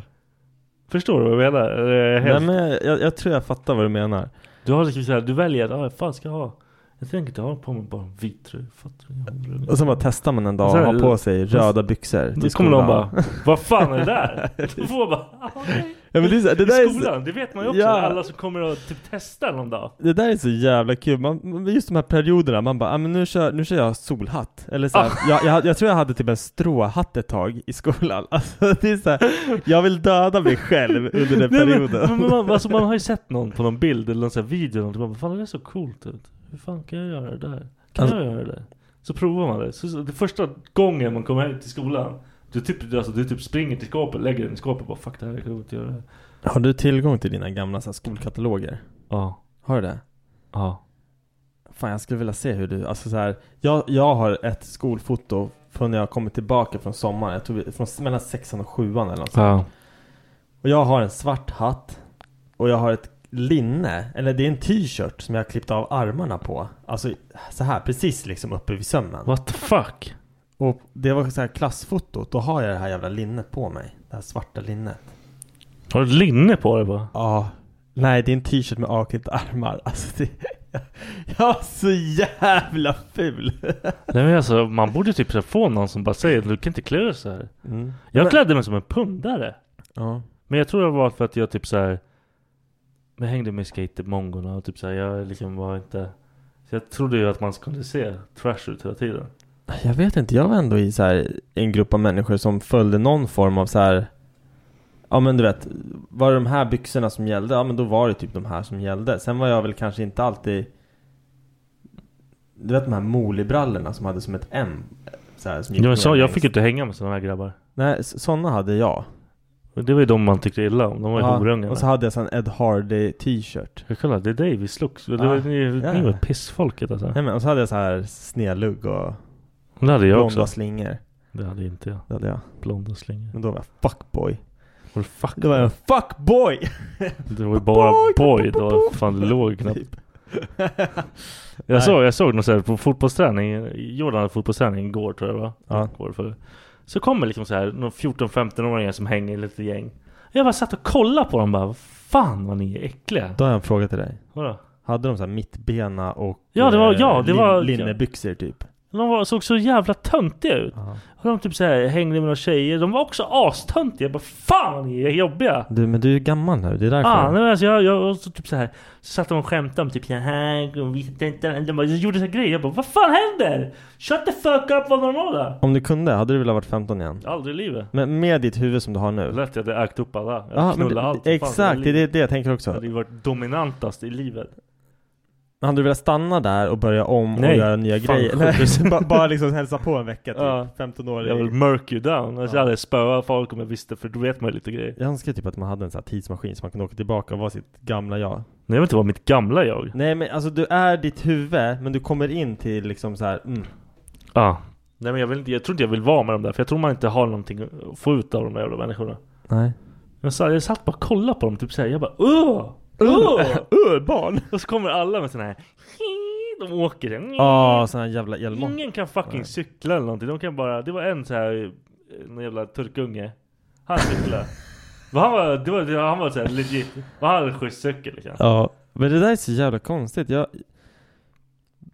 Speaker 1: Förstår du vad jag menar? Eller är jag helt-
Speaker 4: Nej men jag, jag, jag tror jag fattar vad du menar.
Speaker 1: Du har liksom såhär, du väljer att, ah, vad fan ska jag ha? Jag tänker inte ha på mig bara en vit tröja, fattar du?
Speaker 4: Och sen bara testar man en dag
Speaker 1: Så
Speaker 4: och
Speaker 1: här-
Speaker 4: har på sig röda byxor.
Speaker 1: Då
Speaker 4: till
Speaker 1: kommer någon
Speaker 4: skolan.
Speaker 1: bara, vad fan är det där? Då får man bara, ah, okej.
Speaker 4: Ja, men det, är så, det, där
Speaker 1: I
Speaker 4: är
Speaker 1: skolan,
Speaker 4: så,
Speaker 1: det vet man ju också.
Speaker 4: Ja.
Speaker 1: Alla som kommer att typ testa någon dag.
Speaker 4: det där är så jävla kul. Man, men just de här perioderna, man bara ah, men nu, kör, nu kör jag solhatt. Eller så här,
Speaker 1: Ah.
Speaker 4: jag, jag, jag tror jag hade typ en stråhatt ett tag i skolan. Alltså, det är så här, jag vill döda mig själv under den
Speaker 1: Nej, men,
Speaker 4: perioden.
Speaker 1: men man, alltså, man har ju sett någon på någon bild eller någon sån här video eller någonting. Man bara, fan det där ser så coolt ut. Hur fan kan jag göra det där? Kan
Speaker 4: Alltså-
Speaker 1: jag göra det där? Så provar man det. Så, så, det första gången man kommer hem till skolan. Du typ, du, alltså, du typ springer till skåpet, lägger den i skåpet och bara fuck det här, jag kan inte göra det här.
Speaker 4: Har du tillgång till dina gamla så här, skolkataloger?
Speaker 1: Ja,
Speaker 4: Har du det?
Speaker 1: ja.
Speaker 4: Fan jag skulle vilja se hur du, alltså så här, jag, jag har ett skolfoto från när jag kommit tillbaka från sommaren, jag tror vi, från s- mellan sexan och sjuan eller något sånt.
Speaker 1: Ja.
Speaker 4: Och jag har en svart hatt och jag har ett linne, eller det är en t-shirt som jag har klippt av armarna på. Alltså så här precis liksom uppe vid sömmen.
Speaker 1: What the fuck?
Speaker 4: Och det var så här klassfotot, då har jag det här jävla linnet på mig. Det här svarta linnet.
Speaker 1: Har du ett linne på dig bara?
Speaker 4: Ja. Nej, det är en t-shirt med avklippta armar. Alltså det... Jag är så jävla ful!
Speaker 1: Nej men alltså man borde typ så här få någon som bara säger du kan inte klä dig så här. Jag klädde mig som en pundare.
Speaker 4: Mm. Ja.
Speaker 1: Men jag tror det var för att jag typ så här. Men jag hängde med skatermongorna och typ så här, jag liksom var inte. Så jag trodde ju att man skulle se trash ut hela tiden.
Speaker 4: Jag vet inte, jag var ändå i så här en grupp av människor som följde någon form av så här. Ja men du vet, var det de här byxorna som gällde? Ja men då var det typ de här som gällde. Sen var jag väl kanske inte alltid Du vet de här molibrallorna som hade som ett M? Så här, som gick
Speaker 1: Jag, sa,
Speaker 4: ner
Speaker 1: jag
Speaker 4: längst.
Speaker 1: fick inte hänga med sådana här grabbar.
Speaker 4: Nej, s- såna hade jag.
Speaker 1: Och Det var ju de man tyckte illa om. De var ju
Speaker 4: Ja,
Speaker 1: horungarna.
Speaker 4: och så hade jag så en Ed Hardy t-shirt.
Speaker 1: Jag kollar, det är dig vi slogs. Det var,
Speaker 4: Ah,
Speaker 1: ni,
Speaker 4: ja.
Speaker 1: ni var pissfolket alltså.
Speaker 4: Nej men och så hade jag så här snedlugg och
Speaker 1: Det hade jag
Speaker 4: blonda
Speaker 1: också.
Speaker 4: slingor.
Speaker 1: Det hade inte jag.
Speaker 4: Det hade jag.
Speaker 1: Blonda slingor.
Speaker 4: Men då var jag fuckboy.
Speaker 1: Var du fuck?
Speaker 4: Då var jag en fuckboy!
Speaker 1: Det var ju bara boy då. Fan det låg knappt. Jag såg, jag såg någon så här på fotbollsträning, Jordan hade fotbollsträning igår tror jag va?
Speaker 4: Ja.
Speaker 1: Igår för. Så kommer liksom så här någon 14-15-åringar som hänger i lite gäng. Jag bara satt och kollade på dem bara, "Vad fan vad ni är äckliga.
Speaker 4: Då har jag en fråga till dig.
Speaker 1: Vadå?
Speaker 4: Hade de så här mittbena och
Speaker 1: Ja, det var-
Speaker 4: eh,
Speaker 1: ja, det
Speaker 4: lin-
Speaker 1: var-
Speaker 4: linnebyxor typ?
Speaker 1: De var, såg så jävla töntiga ut.
Speaker 4: Ja.
Speaker 1: Och de typ så här hängde med några tjejer, de var också astöntiga. Jag bara, fan vad ni är jobbiga.
Speaker 4: Du, men du är ju gammal nu, det är därför.
Speaker 1: Ah, nej, men alltså jag, jag och så typ så här Så satt de och skämtade om typ så här och vi tänkte, de bara, jag gjorde så här grejer. Jag bara, vad fan händer? Shut the fuck up, var normala.
Speaker 4: Om du kunde, hade du velat varit 15 igen?
Speaker 1: Aldrig i livet.
Speaker 4: Men med ditt huvud som du har nu?
Speaker 1: Lätt jag hade ägt upp alla. Jag
Speaker 4: Ja,
Speaker 1: hade
Speaker 4: men
Speaker 1: knullat allt.
Speaker 4: det,
Speaker 1: Fan, jag
Speaker 4: exakt,
Speaker 1: hade
Speaker 4: det är det,
Speaker 1: liv-
Speaker 4: det jag tänker
Speaker 1: Jag
Speaker 4: också.
Speaker 1: hade ju varit dominantast i livet.
Speaker 4: Men Hade du velat stanna där och börja om
Speaker 1: Nej,
Speaker 4: och göra nya
Speaker 1: fan,
Speaker 4: grejer?
Speaker 1: sjukt.
Speaker 4: Nej, bara, bara liksom hälsa på en vecka typ.
Speaker 1: Ja.
Speaker 4: 15 år.
Speaker 1: Jag vill mörk you down. Alltså
Speaker 4: Ja.
Speaker 1: jag hade spöat folk om jag visste för då vet man ju lite grejer.
Speaker 4: Jag önskar typ att man hade en sån här tidsmaskin så man kunde åka tillbaka och vara sitt gamla jag.
Speaker 1: Nej jag vill inte vara mitt gamla jag.
Speaker 4: Nej men alltså du är ditt huvud, men du kommer in till liksom så här. Mm.
Speaker 1: Ah. Nej men jag, vill inte, jag tror inte jag vill vara med dem där för jag tror man inte har någonting att få ut av de där jävla människorna.
Speaker 4: Nej.
Speaker 1: Jag, sa, jag satt bara och kollade på dem typ såhär, jag bara Åh! Åh!
Speaker 4: Öh, barn!
Speaker 1: Och så kommer alla med såna här De åker den.
Speaker 4: Ja, Ah, sån här jävla elmopp.
Speaker 1: Ingen kan fucking cykla eller någonting. De kan bara, det var en så här eh, någon jävla turkunge. Han cyklade. Men han var, det var, det var, han var så här legit. Men han hade en schysst cykel liksom.
Speaker 4: Ja, men det där är så jävla konstigt. Jag...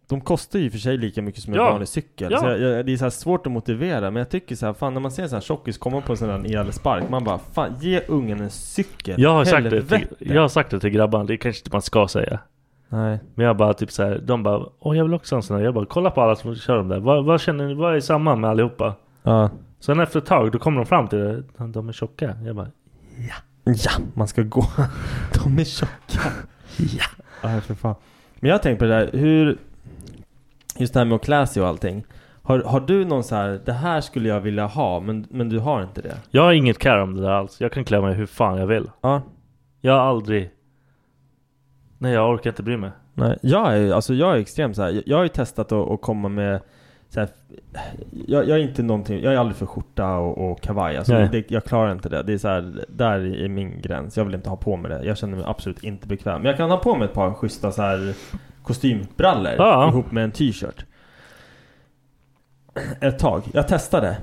Speaker 4: De kostar ju i och för sig lika mycket som en
Speaker 1: Ja.
Speaker 4: vanlig cykel.
Speaker 1: Ja.
Speaker 4: Så jag, jag, det är så här svårt att motivera, men jag tycker så här, fan när man ser en sån här tjockis komma på en sån här elspark, man bara fan ge ungen en cykel.
Speaker 1: Jag har, sagt det till,
Speaker 4: Helvete.
Speaker 1: jag har sagt det till grabbarna, det kanske inte man ska säga.
Speaker 4: Nej.
Speaker 1: Men jag bara typ så här, de bara Åh jag vill också ha en sån här. Jag bara kolla på alla som kör dem där. Vad, vad känner ni, vad är samma med allihopa?
Speaker 4: Ja.
Speaker 1: Sen efter ett tag, då kommer de fram till det. De, de är tjocka. Jag bara
Speaker 4: Ja, man ska gå. De är tjocka. ja. Nej, för fan. Men jag har tänkt på det där, hur... just det här med att klä sig och allting. Har, har du någon så här, det här skulle jag vilja ha, men, men du har inte det?
Speaker 1: Jag har inget care om det där alls. Jag kan klä mig hur fan jag vill.
Speaker 4: Ja.
Speaker 1: Jag har aldrig... Nej, jag orkar inte bry mig.
Speaker 4: Nej, jag är, alltså jag är extrem så här. Jag, jag har ju testat att, att komma med så här, jag, jag är inte någonting, jag är aldrig för skjorta och, och kavaj. Alltså
Speaker 1: Nej.
Speaker 4: det, jag klarar inte det. Det är så här, där är min gräns. Jag vill inte ha på mig det. Jag känner mig absolut inte bekväm. Men jag kan ha på mig ett par schyssta så här kostymbrallor
Speaker 1: Ja.
Speaker 4: ihop med en t-shirt. Ett tag. Jag testade.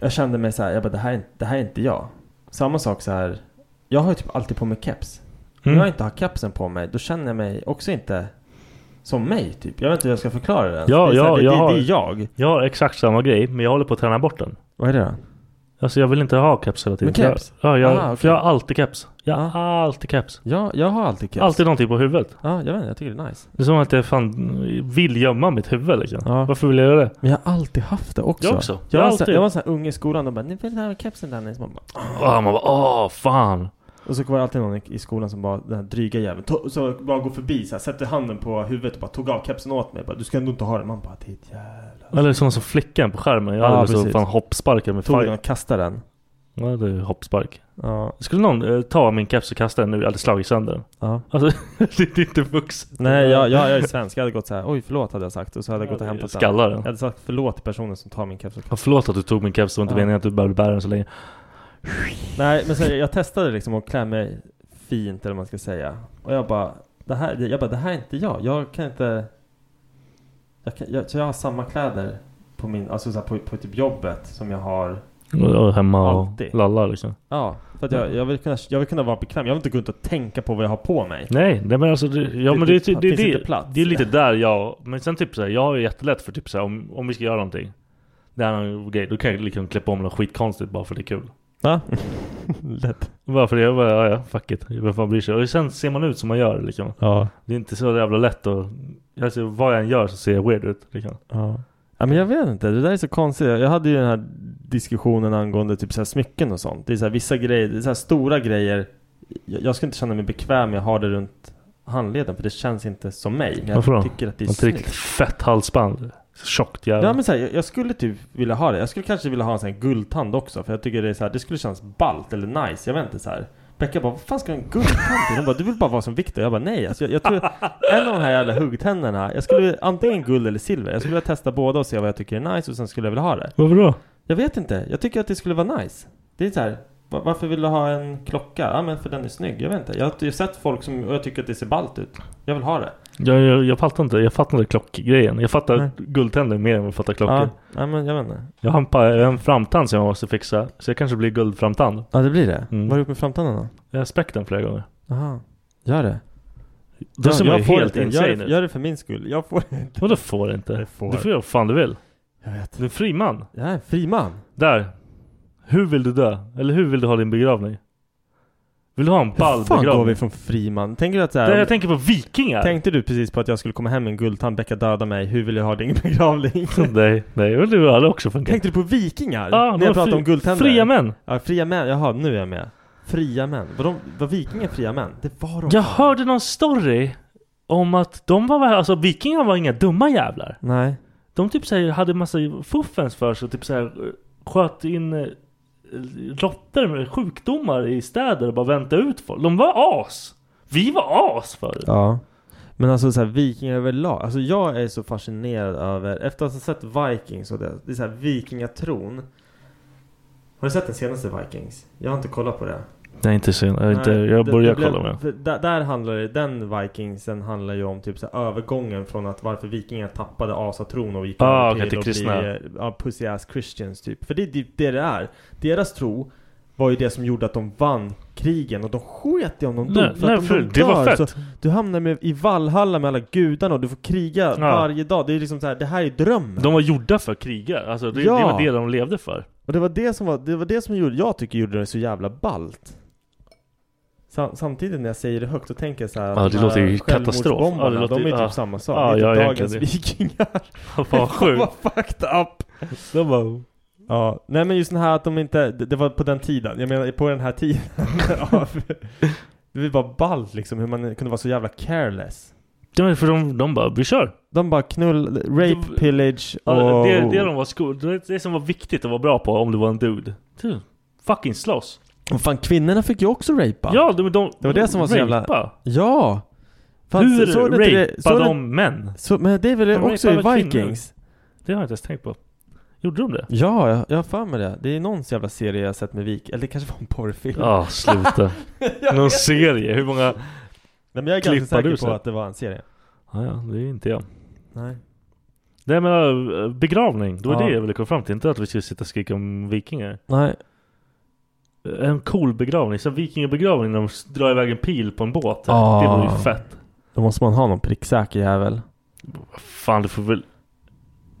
Speaker 4: Jag kände mig så här, jag bara, det här, är inte- det här är inte jag. Samma sak så här. Jag har ju typ alltid på mig keps.
Speaker 1: Mm.
Speaker 4: När jag inte har kepsen på mig, då känner jag mig också inte som mig typ. Jag vet inte hur jag ska förklara det ens.
Speaker 1: Ja,
Speaker 4: det, är så här,
Speaker 1: ja,
Speaker 4: det,
Speaker 1: jag
Speaker 4: det,
Speaker 1: har-
Speaker 4: det är jag.
Speaker 1: Jag har exakt samma grej, men jag håller på att träna bort den.
Speaker 4: Vad är det då?
Speaker 1: Alltså jag vill inte ha keps hela tiden.
Speaker 4: Men keps?
Speaker 1: Jag, ja, jag,
Speaker 4: Ah, okej.
Speaker 1: för jag har alltid keps. Jag har alltid keps.
Speaker 4: Ja, jag har alltid keps.
Speaker 1: Alltid någonting på huvudet.
Speaker 4: Ja, jag vet inte, jag tycker det är nice.
Speaker 1: Det är som att jag fan vill gömma mitt huvud liksom.
Speaker 4: Ja.
Speaker 1: Varför vill jag göra det?
Speaker 4: Men jag har alltid haft det också.
Speaker 1: Jag också.
Speaker 4: Jag,
Speaker 1: Jag har
Speaker 4: var, så, här-
Speaker 1: alltid-
Speaker 4: jag var så här ung i skolan, de bara 'Ni vill ha kepsen Dennis?' Man bara,
Speaker 1: Åh, Ah, man bara åh fan.
Speaker 4: och så var det alltid någon i, i skolan som bara, den här dryga jäveln, to- så bara går förbi så här, sätter handen på huvudet och bara tog av kepsen åt mig. Bara, 'Du ska ändå inte ha den' Man bara 'Ditt jävla...
Speaker 1: Eller sån som flickan på skärmen. Jag
Speaker 4: Ja,
Speaker 1: hade så
Speaker 4: precis.
Speaker 1: fan hoppsparkar med
Speaker 4: Tog den
Speaker 1: fire.
Speaker 4: och kastade den.
Speaker 1: Ja, det är hoppspark.
Speaker 4: Ja.
Speaker 1: Skulle någon eh, ta min keps och kasta den nu, jag hade slagit sönder den.
Speaker 4: ja.
Speaker 1: Alltså, det är inte vuxet.
Speaker 4: Nej, jag, jag, jag är svensk. Jag hade gått så här, oj förlåt hade jag sagt. Och så hade jag gått och hämtat den.
Speaker 1: Skallar
Speaker 4: Jag
Speaker 1: den.
Speaker 4: hade sagt förlåt till personen som tar min keps. och-
Speaker 1: Ja, förlåt att du tog min keps, det var inte
Speaker 4: Ja.
Speaker 1: meningen att du behövde bära den så länge.
Speaker 4: Nej, men så här, jag testade liksom att klä mig fint eller vad man ska säga. Och jag bara, det här, jag bara, det här är inte jag. Jag kan inte... Jag kan, jag, så jag har samma kläder på min, alltså så här, på, på typ jobbet som jag har.
Speaker 1: Och- Och hemma och
Speaker 4: Alltid.
Speaker 1: lallar liksom.
Speaker 4: Ja, för att jag, jag, vill kunna, jag vill kunna vara bekväm. Jag vill inte gå runt och tänka på vad jag har på mig.
Speaker 1: Nej, nej men alltså det, ja,
Speaker 4: Det-
Speaker 1: men
Speaker 4: det
Speaker 1: det, det, det,
Speaker 4: finns inte
Speaker 1: det,
Speaker 4: plats.
Speaker 1: det är lite där jag... Men sen typ såhär, jag har ju jättelätt för typ såhär om, om vi ska göra någonting. Det här är någon grej, då kan jag liksom klä på mig något skitkonstigt bara för det är kul.
Speaker 4: Va? Lätt.
Speaker 1: Bara för det, jag bara, ja ja, fuck it. Vem fan bryr sig? Och sen ser man ut som man gör liksom.
Speaker 4: Ja.
Speaker 1: Det är inte så jävla lätt att... Alltså vad jag än gör så ser jag weird ut. Liksom.
Speaker 4: Ja. ja men jag vet inte, det där är så konstigt. Jag hade ju den här diskussionen angående typ så här smycken och sånt. Det är så här vissa grejer, det är så här stora grejer. Jag, jag skulle inte känna mig bekväm med att ha det runt handleden för det känns inte som mig. Men jag
Speaker 1: Varför då?
Speaker 4: tycker att det är
Speaker 1: Något riktigt
Speaker 4: snyggt.
Speaker 1: fett halsband. Tjockt jävla.
Speaker 4: Ja men så här, jag, jag skulle typ vilja ha det. Jag skulle kanske vilja ha en sån här guldtand också för jag tycker det är så här, det skulle kännas ballt eller nice. Jag vet inte så här. Becka bara, vad fan ska du ha en guldtand till? Hon bara, du vill bara vara som Victor. Jag bara, nej. Alltså, jag, jag tror, en av de här jävla huggtänderna, jag skulle vilja- antingen guld eller silver. Jag skulle vilja testa båda och se vad jag tycker är nice och sen skulle jag vilja ha det.
Speaker 1: Varför då?
Speaker 4: Jag vet inte. Jag tycker att det skulle vara nice. Det är så här. va- Varför vill du ha en klocka? Ja men för den är snygg. Jag vet inte. Jag har jag har sett folk som, och jag tycker att det ser ballt ut. Jag vill ha det.
Speaker 1: Jag, jag, jag fattar inte, jag fattar inte klockgrejen. Jag fattar
Speaker 4: Nej.
Speaker 1: guldtänder mer än vad jag fattar klockor.
Speaker 4: Ja, ja men jag vet inte.
Speaker 1: Jag har en, pa- en framtand som jag måste fixa. Så jag kanske blir guldframtand.
Speaker 4: Ja det blir det.
Speaker 1: Mm.
Speaker 4: Vad har du gjort med framtanden då?
Speaker 1: Jag har späckt den flera gånger.
Speaker 4: Jaha. Gör det.
Speaker 1: Då ser man ju
Speaker 4: får
Speaker 1: helt
Speaker 4: inte. gör,
Speaker 1: insane
Speaker 4: det-
Speaker 1: ut.
Speaker 4: gör det för min skull. Jag får inte.
Speaker 1: Vadå får inte?
Speaker 4: Jag får.
Speaker 1: Du får göra vad fan du vill.
Speaker 4: Jag vet.
Speaker 1: Du är en fri man.
Speaker 4: Jag är en fri man.
Speaker 1: Där. Hur vill du dö? Eller hur vill du ha din begravning? Vill du ha en ball
Speaker 4: Hur fan går
Speaker 1: begravning?
Speaker 4: vi från fri man? Tänker du att så
Speaker 1: Det,
Speaker 4: här,
Speaker 1: jag tänker på vikingar!
Speaker 4: Tänkte du precis på att jag skulle komma hem med en guldtand, Becka döda mig, hur vill jag ha din begravning?
Speaker 1: nej, nej. Och du hade också funkat.
Speaker 4: Tänkte du på vikingar?
Speaker 1: Ja, de
Speaker 4: när
Speaker 1: var
Speaker 4: jag pratade
Speaker 1: Ah, fri-
Speaker 4: om guldtänder?
Speaker 1: Fria män!
Speaker 4: Ja, fria män. Jaha, nu är jag med. Fria män. Var, de, var vikingar fria män? Det var de
Speaker 1: Jag
Speaker 4: fan.
Speaker 1: hörde någon story om att de var, alltså vikingar var inga dumma jävlar.
Speaker 4: Nej.
Speaker 1: De typ såhär hade massa fuffens för sig och typ såhär eh, sköt in eh, råttor med sjukdomar i städer och bara väntade ut folk. De var as! Vi var as förut.
Speaker 4: Ja. Men alltså så här, vikingar överlag. Alltså jag är så fascinerad över, efter att ha sett Vikings och det, det är så här vikingatron. Har du sett den senaste Vikings? Jag har inte kollat på det.
Speaker 1: Nej inte sen. Jag, inte,
Speaker 4: Nej,
Speaker 1: jag
Speaker 4: det-
Speaker 1: börjar
Speaker 4: det blev-
Speaker 1: kolla med.
Speaker 4: för Där, där handlar det, den Vikingsen handlar ju om typ så här, övergången från att varför vikingar tappade asatron och gick
Speaker 1: Ah,
Speaker 4: över
Speaker 1: okej, till
Speaker 4: att
Speaker 1: kristna.
Speaker 4: bli eh, ja, pussy ass christians typ. För det är typ det det är. Deras tro var ju det som gjorde att de vann krigen och de sket i om de dog. alltså-
Speaker 1: Nej, nej,
Speaker 4: för att om
Speaker 1: för
Speaker 4: de
Speaker 1: det var
Speaker 4: dör
Speaker 1: fett.
Speaker 4: så du hamnar med, i Valhalla med alla gudarna och du får kriga varje dag. Det är liksom så här, det här är drömmen.
Speaker 1: De var gjorda för att kriga. Alltså det, det
Speaker 4: Ja.
Speaker 1: var det de levde för.
Speaker 4: Och det var det som var, det var det som gjorde, jag tycker gjorde det så jävla ballt. Sam, samtidigt när jag säger det högt så tänker jag så här,
Speaker 1: Ja, det
Speaker 4: de här
Speaker 1: låter ju katastrof.
Speaker 4: självmordsbombarna,
Speaker 1: Ja, det låter
Speaker 4: de är
Speaker 1: ju-
Speaker 4: typ
Speaker 1: ja.
Speaker 4: samma sak.
Speaker 1: Ja,
Speaker 4: det
Speaker 1: ja,
Speaker 4: är typ
Speaker 1: egentligen
Speaker 4: dagens
Speaker 1: det.
Speaker 4: vikingar.
Speaker 1: Vad sjukt.
Speaker 4: Vad fucked up. De bara... Ja, nej men just den här att de inte, det, det var på den tiden, jag menar på den här tiden. Ja, för- det var bara ballt liksom hur man kunde vara så jävla careless.
Speaker 1: Det var för de, de bara, vi kör!
Speaker 4: De bara knull, rape, pillage och...
Speaker 1: Ja, det, det, de var sko- det, det som var viktigt att vara bra på om du var en dude. Du, fucking slåss!
Speaker 4: Och fan kvinnorna fick ju också rapa.
Speaker 1: Ja, de, de,
Speaker 4: Det var det som var så jävla-
Speaker 1: rapa.
Speaker 4: Ja!
Speaker 1: Hur
Speaker 4: såg ni inte det- såg
Speaker 1: rapade
Speaker 4: ni-
Speaker 1: de män?
Speaker 4: Så, men det är väl
Speaker 1: De
Speaker 4: också i
Speaker 1: rapar väl kvinnor?
Speaker 4: Vikings?
Speaker 1: Det har jag inte ens tänkt på. Gjorde de det?
Speaker 4: Ja, jag, jag har för mig det. Det är någon jävla serie jag har sett med Vik, eller det kanske var en porrfilm.
Speaker 1: Ja, Ah, sluta. Någon serie? Hur många?
Speaker 4: Nej, men jag är ganska
Speaker 1: Klippar du
Speaker 4: säker på
Speaker 1: sen?
Speaker 4: att det var en serie.
Speaker 1: Ja, ja, det är inte jag.
Speaker 4: Nej.
Speaker 1: Nej men äh, begravning, det var
Speaker 4: Ja.
Speaker 1: det jag ville komma fram till. Inte att vi skulle sitta och skrika om vikingar.
Speaker 4: Nej.
Speaker 1: Äh, En cool begravning, som vikingabegravning när de s- drar iväg en pil på en båt.
Speaker 4: Ah.
Speaker 1: Det var ju fett.
Speaker 4: Då måste man ha någon pricksäker jävel.
Speaker 1: Fan du får väl...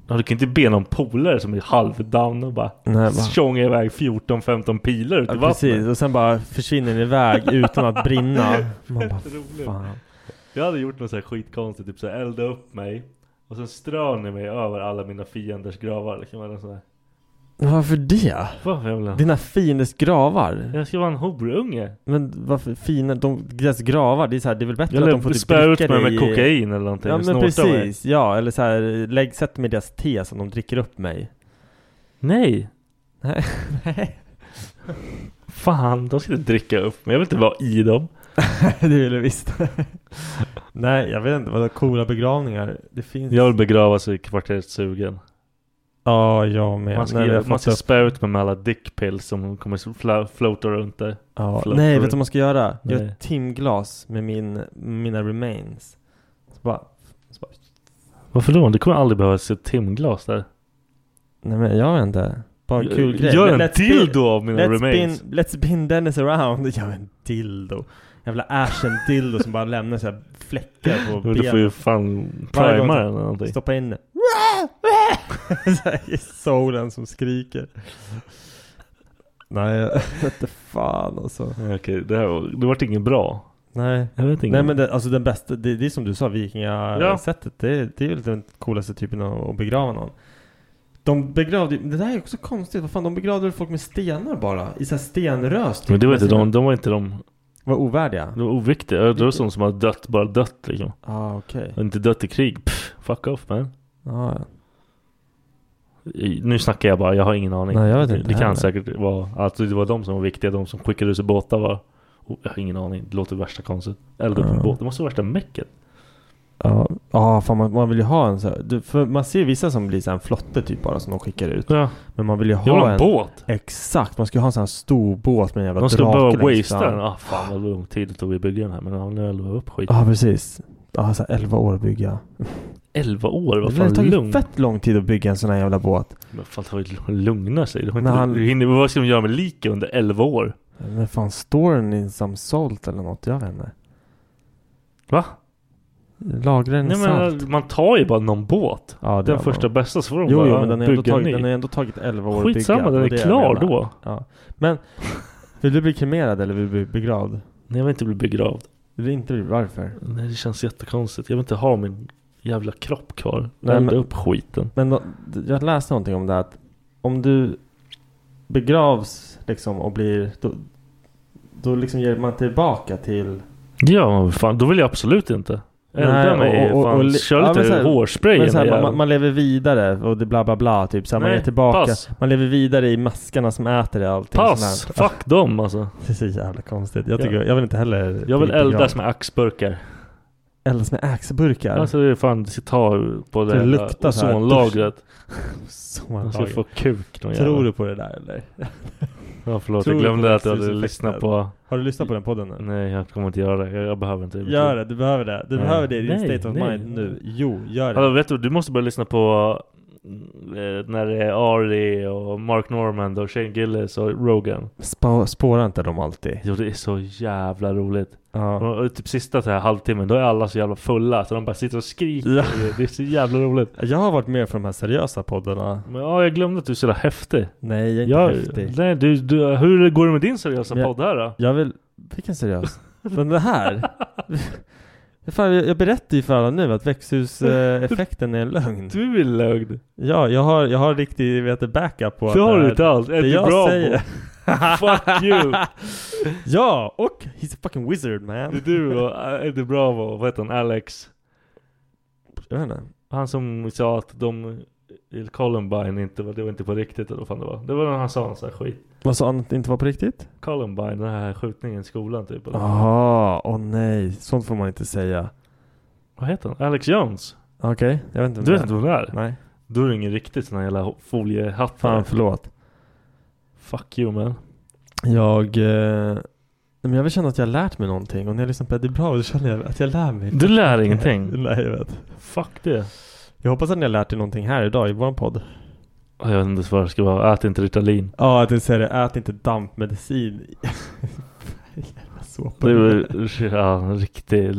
Speaker 1: Ja, du kan inte be någon polare som är halvdown och bara
Speaker 4: Nej, bara-
Speaker 1: tjonga iväg 14-15 pilar ut i
Speaker 4: Ja, precis,
Speaker 1: vattnet.
Speaker 4: och sen bara försvinner den iväg utan att brinna. Man bara,
Speaker 1: Roligt.
Speaker 4: fan.
Speaker 1: Jag hade gjort något så här skitkonstigt, typ så här, elda upp mig. Och sen strör ni mig över alla mina fienders gravar. Liksom, eller sådär.
Speaker 4: Varför det?
Speaker 1: Varför jag vill ha-
Speaker 4: Dina fienders gravar?
Speaker 1: Jag ska vara en horunge.
Speaker 4: Men varför fina, de, deras gravar, det är så här, det är väl bättre
Speaker 1: Jag
Speaker 4: att de får
Speaker 1: lär
Speaker 4: typ
Speaker 1: spöa ut
Speaker 4: dricka
Speaker 1: mig
Speaker 4: det
Speaker 1: med
Speaker 4: i-
Speaker 1: kokain eller någonting.
Speaker 4: Ja
Speaker 1: och
Speaker 4: men
Speaker 1: snorta mig.
Speaker 4: precis, ja eller så här, lägg, sätt mig i deras te som de dricker upp mig.
Speaker 1: Nej.
Speaker 4: Nej.
Speaker 1: Fan, de ska inte dricka upp mig. Jag vill inte vara i dem.
Speaker 4: det vill du visst. Nej, jag vet inte vad coola begravningar det finns.
Speaker 1: Jag vill begravas i kvarteret Sugen.
Speaker 4: Ja, jag med.
Speaker 1: Man ska,
Speaker 4: Nej, vi har
Speaker 1: man
Speaker 4: fått
Speaker 1: ska
Speaker 4: upp-
Speaker 1: spöa ut mig med alla dickpills som kommer fla- floata runt där.
Speaker 4: Ja,
Speaker 1: Float
Speaker 4: nej,
Speaker 1: through.
Speaker 4: vet du vad man ska göra? Gör
Speaker 1: Nej.
Speaker 4: ett timglas med min, mina remains. Så bara, så bara,
Speaker 1: Varför då? Det kommer aldrig behövas ett timglas där.
Speaker 4: nej men jag vet inte. Bara en kul grej.
Speaker 1: Gör
Speaker 4: Let-
Speaker 1: en
Speaker 4: let's spin-
Speaker 1: dildo av mina
Speaker 4: let's
Speaker 1: remains.
Speaker 4: spin, let's spin Dennis around. Gör en dildo. Jävla ashen dildo som bara lämnar så här fläckar på
Speaker 1: Men Du får ju
Speaker 4: benen.
Speaker 1: fan
Speaker 4: Varje gång
Speaker 1: prima den eller någonting.
Speaker 4: Stoppa in den. Så här I solen som skriker. Nej, jag vete fan alltså.
Speaker 1: Nej, Okej, det här var, det vart inget bra.
Speaker 4: Nej.
Speaker 1: Jag vet inte.
Speaker 4: Nej men det, alltså den bästa, det, det är som du sa,
Speaker 1: Ja.
Speaker 4: vikingasättet. Det, det är ju den coolaste typen av att begrava någon. De begravde ju- det där är också konstigt, vad fan de begravde väl folk med stenar bara? I såhär stenrös typ.
Speaker 1: Men det var inte
Speaker 4: Med sina-
Speaker 1: de, de var inte de,
Speaker 4: Var ovärdiga?
Speaker 1: de var oviktiga. Det var sådana som har dött, bara dött liksom.
Speaker 4: Ah, okej.
Speaker 1: Och inte dött i krig. Pff, fuck off man.
Speaker 4: Ah, ja.
Speaker 1: I- Nu snackar jag bara, jag har ingen aning.
Speaker 4: Nej, jag vet inte
Speaker 1: det
Speaker 4: heller.
Speaker 1: kan säkert vara att det var de som var viktiga, de som skickade ut sig båtar var. Oh, jag har ingen aning, det låter värsta konstigt. Elda upp
Speaker 4: Ja.
Speaker 1: en båt, det måste vara värsta mecket.
Speaker 4: Ja, ah, fan man, man vill ju ha en så här, du, för man ser vissa som blir så här en flotte typ bara som de skickar ut.
Speaker 1: Ja.
Speaker 4: Men man vill ju
Speaker 1: Jag vill ha
Speaker 4: ha
Speaker 1: en
Speaker 4: en...
Speaker 1: båt!
Speaker 4: Exakt, man ska ju ha en sån här stor båt med en jävla
Speaker 1: De skulle
Speaker 4: drake
Speaker 1: bara
Speaker 4: längst
Speaker 1: wastea
Speaker 4: fram.
Speaker 1: den. Ah, fan vad lång tid det tog att bygga den här. Men han har elva upp skit.
Speaker 4: Ja, ah, precis. Ja, ah, såhär 11 år att bygga.
Speaker 1: 11 år, vad
Speaker 4: Det har
Speaker 1: fan
Speaker 4: tagit
Speaker 1: lugn.
Speaker 4: fett lång tid att bygga en sån här jävla båt.
Speaker 1: Men fan ta och lugna sig. De har
Speaker 4: Men
Speaker 1: inte,
Speaker 4: han-
Speaker 1: du hinner, vad ska de göra med liken under 11 år?
Speaker 4: Men fan, står den i some salt eller något? Jag vet inte.
Speaker 1: Va?
Speaker 4: Lagrar den i
Speaker 1: Nej,
Speaker 4: salt?
Speaker 1: men, man tar ju bara någon båt.
Speaker 4: Ja, det
Speaker 1: Den
Speaker 4: har
Speaker 1: första
Speaker 4: man.
Speaker 1: bästa så får de
Speaker 4: Jo,
Speaker 1: bara
Speaker 4: jo, men den har ju ändå
Speaker 1: bygga en
Speaker 4: tagit,
Speaker 1: ny.
Speaker 4: den har ju ändå tagit 11 år att
Speaker 1: Skitsamma,
Speaker 4: bygga.
Speaker 1: den
Speaker 4: Det
Speaker 1: är
Speaker 4: det jag
Speaker 1: klar
Speaker 4: menar.
Speaker 1: då.
Speaker 4: Ja. Men, vill du bli kremerad eller vill du bli begravd?
Speaker 1: Nej, jag vill inte bli begravd.
Speaker 4: Vill du inte bli, varför?
Speaker 1: Nej, det känns jättekonstigt. Jag vill inte ha min jävla kropp kvar.
Speaker 4: Nej,
Speaker 1: Nej, Elda
Speaker 4: men-
Speaker 1: upp skiten.
Speaker 4: Men då, jag läste någonting om det här, att om du begravs liksom och blir, då, då liksom ger man tillbaka till
Speaker 1: Ja, men fan, då vill jag absolut inte. Elda
Speaker 4: Nej,
Speaker 1: mig.
Speaker 4: och- och-
Speaker 1: fan,
Speaker 4: och- ja,
Speaker 1: kör
Speaker 4: men så
Speaker 1: lite
Speaker 4: här-
Speaker 1: hårspray.
Speaker 4: Men så här,
Speaker 1: igen.
Speaker 4: man, man lever vidare och det bla bla bla typ så här, man
Speaker 1: Nej,
Speaker 4: är tillbaka
Speaker 1: pass.
Speaker 4: Man lever vidare i maskarna som äter det och allting
Speaker 1: Pass!
Speaker 4: sånt här.
Speaker 1: Fuck dem alltså.
Speaker 4: Det är så jävla konstigt Jag,
Speaker 1: Ja.
Speaker 4: tycker, jag vill inte heller
Speaker 1: Jag vill
Speaker 4: bli begravd.
Speaker 1: eldas med axburkar.
Speaker 4: Eldas med axburkar?
Speaker 1: Alltså det är fan, det ska ta på det,
Speaker 4: Det
Speaker 1: jävla
Speaker 4: luktar så här.
Speaker 1: ozonlagret.
Speaker 4: Så
Speaker 1: Man
Speaker 4: man
Speaker 1: ska få kuk någon
Speaker 4: Tror
Speaker 1: jävel.
Speaker 4: du på det där eller?
Speaker 1: Ja förlåt,
Speaker 4: tror
Speaker 1: jag
Speaker 4: du på
Speaker 1: glömde att jag hade
Speaker 4: växthuseffekten?
Speaker 1: lyssnat på...
Speaker 4: Har du lyssnat på den podden nu?
Speaker 1: Nej jag kommer inte göra det. Jag, jag behöver inte.
Speaker 4: Gör det, du behöver det Du
Speaker 1: Nej.
Speaker 4: behöver det i din
Speaker 1: Nej,
Speaker 4: state of
Speaker 1: nej.
Speaker 4: mind nu Jo, gör det
Speaker 1: Alltså, vet du, du måste börja lyssna på eh, när det är Ari och Mark Norman och Shane Gillis och Rogan.
Speaker 4: Spa, Spåra inte dem alltid
Speaker 1: Jo det är så jävla roligt.
Speaker 4: Ja,
Speaker 1: Och, och typ sista så här halvtimmen, då är alla så jävla fulla så de bara sitter och skriker.
Speaker 4: Ja.
Speaker 1: Det är så jävla roligt.
Speaker 4: Jag har varit med för de här seriösa poddarna
Speaker 1: Men ja, jag glömde att du är så jävla häftig.
Speaker 4: Nej, jag är inte
Speaker 1: Jag,
Speaker 4: häftig
Speaker 1: nej, du, du, hur går det med din seriösa
Speaker 4: Ja.
Speaker 1: podd här då?
Speaker 4: Jag vill... Vilken seriös? Men det här? Fan, jag, jag berättar ju för alla nu att växthuseffekten är en lögn.
Speaker 1: Du är lögd.
Speaker 4: Ja, jag har, jag har riktig vet, du, backup på att
Speaker 1: Det har du
Speaker 4: här-
Speaker 1: inte alls. Är
Speaker 4: Det
Speaker 1: du
Speaker 4: jag
Speaker 1: bra
Speaker 4: säger.
Speaker 1: på? Fuck you!
Speaker 4: Ja, och he's a fucking wizard man.
Speaker 1: Det är du och Eddie Bravo, vad heter han, Alex?
Speaker 4: jag vet inte.
Speaker 1: Han som sa att de i Columbine inte var, det var inte på riktigt eller vad fan det var. Det var när han sa en sån här skit.
Speaker 4: Vad sa han att det inte var på riktigt?
Speaker 1: Columbine, den här skjutningen i skolan typ. Eller?
Speaker 4: Jaha, åh nej. Sånt får man inte säga.
Speaker 1: Vad heter han? Alex Jones?
Speaker 4: Okej, jag vet inte.
Speaker 1: Du vet inte vem det är?
Speaker 4: Nej.
Speaker 1: Då är det ingen riktigt sån här jävla foliehatt.
Speaker 4: Fan, förlåt.
Speaker 1: Fuck you man.
Speaker 4: Jag... Eh, nej, men jag vill känna att jag har lärt mig någonting. Och när jag lyssnar på Eddie Bravo så känner jag att jag lär mig.
Speaker 1: Du lär ingenting.
Speaker 4: nej, jag vet.
Speaker 1: Fuck det.
Speaker 4: Jag hoppas att ni har lärt er någonting här idag i vår podd.
Speaker 1: Ja, Jag vet inte ens vad det ska vara. Ät inte Ritalin.
Speaker 4: Ja, att du säger det. Ät inte dampmedicin. Jävla såpa.
Speaker 1: Det är ja, en riktig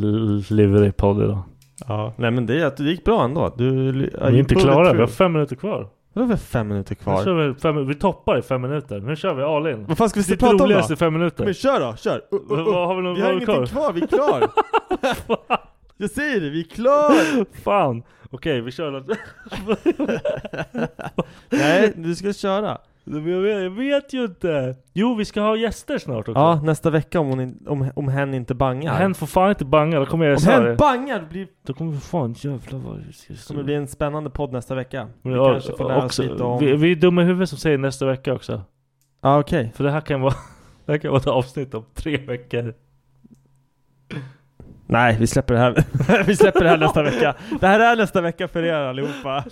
Speaker 1: liverig podd idag.
Speaker 4: Ja, nej men det, är att det gick bra ändå. Du,
Speaker 1: Vi är inte klara. Vi har fem minuter kvar.
Speaker 4: Då har vi fem minuter
Speaker 1: Nu kör
Speaker 4: kvar.
Speaker 1: vi, fem, vi toppar i fem minuter. Nu kör vi all in.
Speaker 4: Vad fan ska vi
Speaker 1: Ditt
Speaker 4: prata om då?
Speaker 1: roligaste fem minuter.
Speaker 4: Men kör då, kör! Uh, uh, uh.
Speaker 1: Vad har vi någon-
Speaker 4: vi
Speaker 1: vad
Speaker 4: har
Speaker 1: har vi
Speaker 4: ingenting kvar, vi är klar! jag säger det, vi är klar!
Speaker 1: Fan! Okej, vi kör något.
Speaker 4: Nej, du ska köra.
Speaker 1: Men Jag vet, jag vet ju inte. Jo, vi ska ha gäster snart också.
Speaker 4: Ja, nästa vecka om, hon in, om, om hen inte bangar.
Speaker 1: Hen får fan inte banga, då kommer jag
Speaker 4: om
Speaker 1: så
Speaker 4: hen
Speaker 1: här.
Speaker 4: bangar det blir,
Speaker 1: Då kommer vi fan jävlar vad det ska
Speaker 4: kommer det bli en spännande podd nästa vecka. Vi
Speaker 1: Ja,
Speaker 4: kanske får lära oss
Speaker 1: också,
Speaker 4: lite om...
Speaker 1: vi, vi är dumma i huvudet som säger nästa vecka också.
Speaker 4: Ja, okej.
Speaker 1: För det här kan vara, det här kan vara ett avsnitt om tre veckor.
Speaker 4: Nej, vi släpper det här. vi släpper det här nästa vecka. Det här är nästa vecka för er allihopa.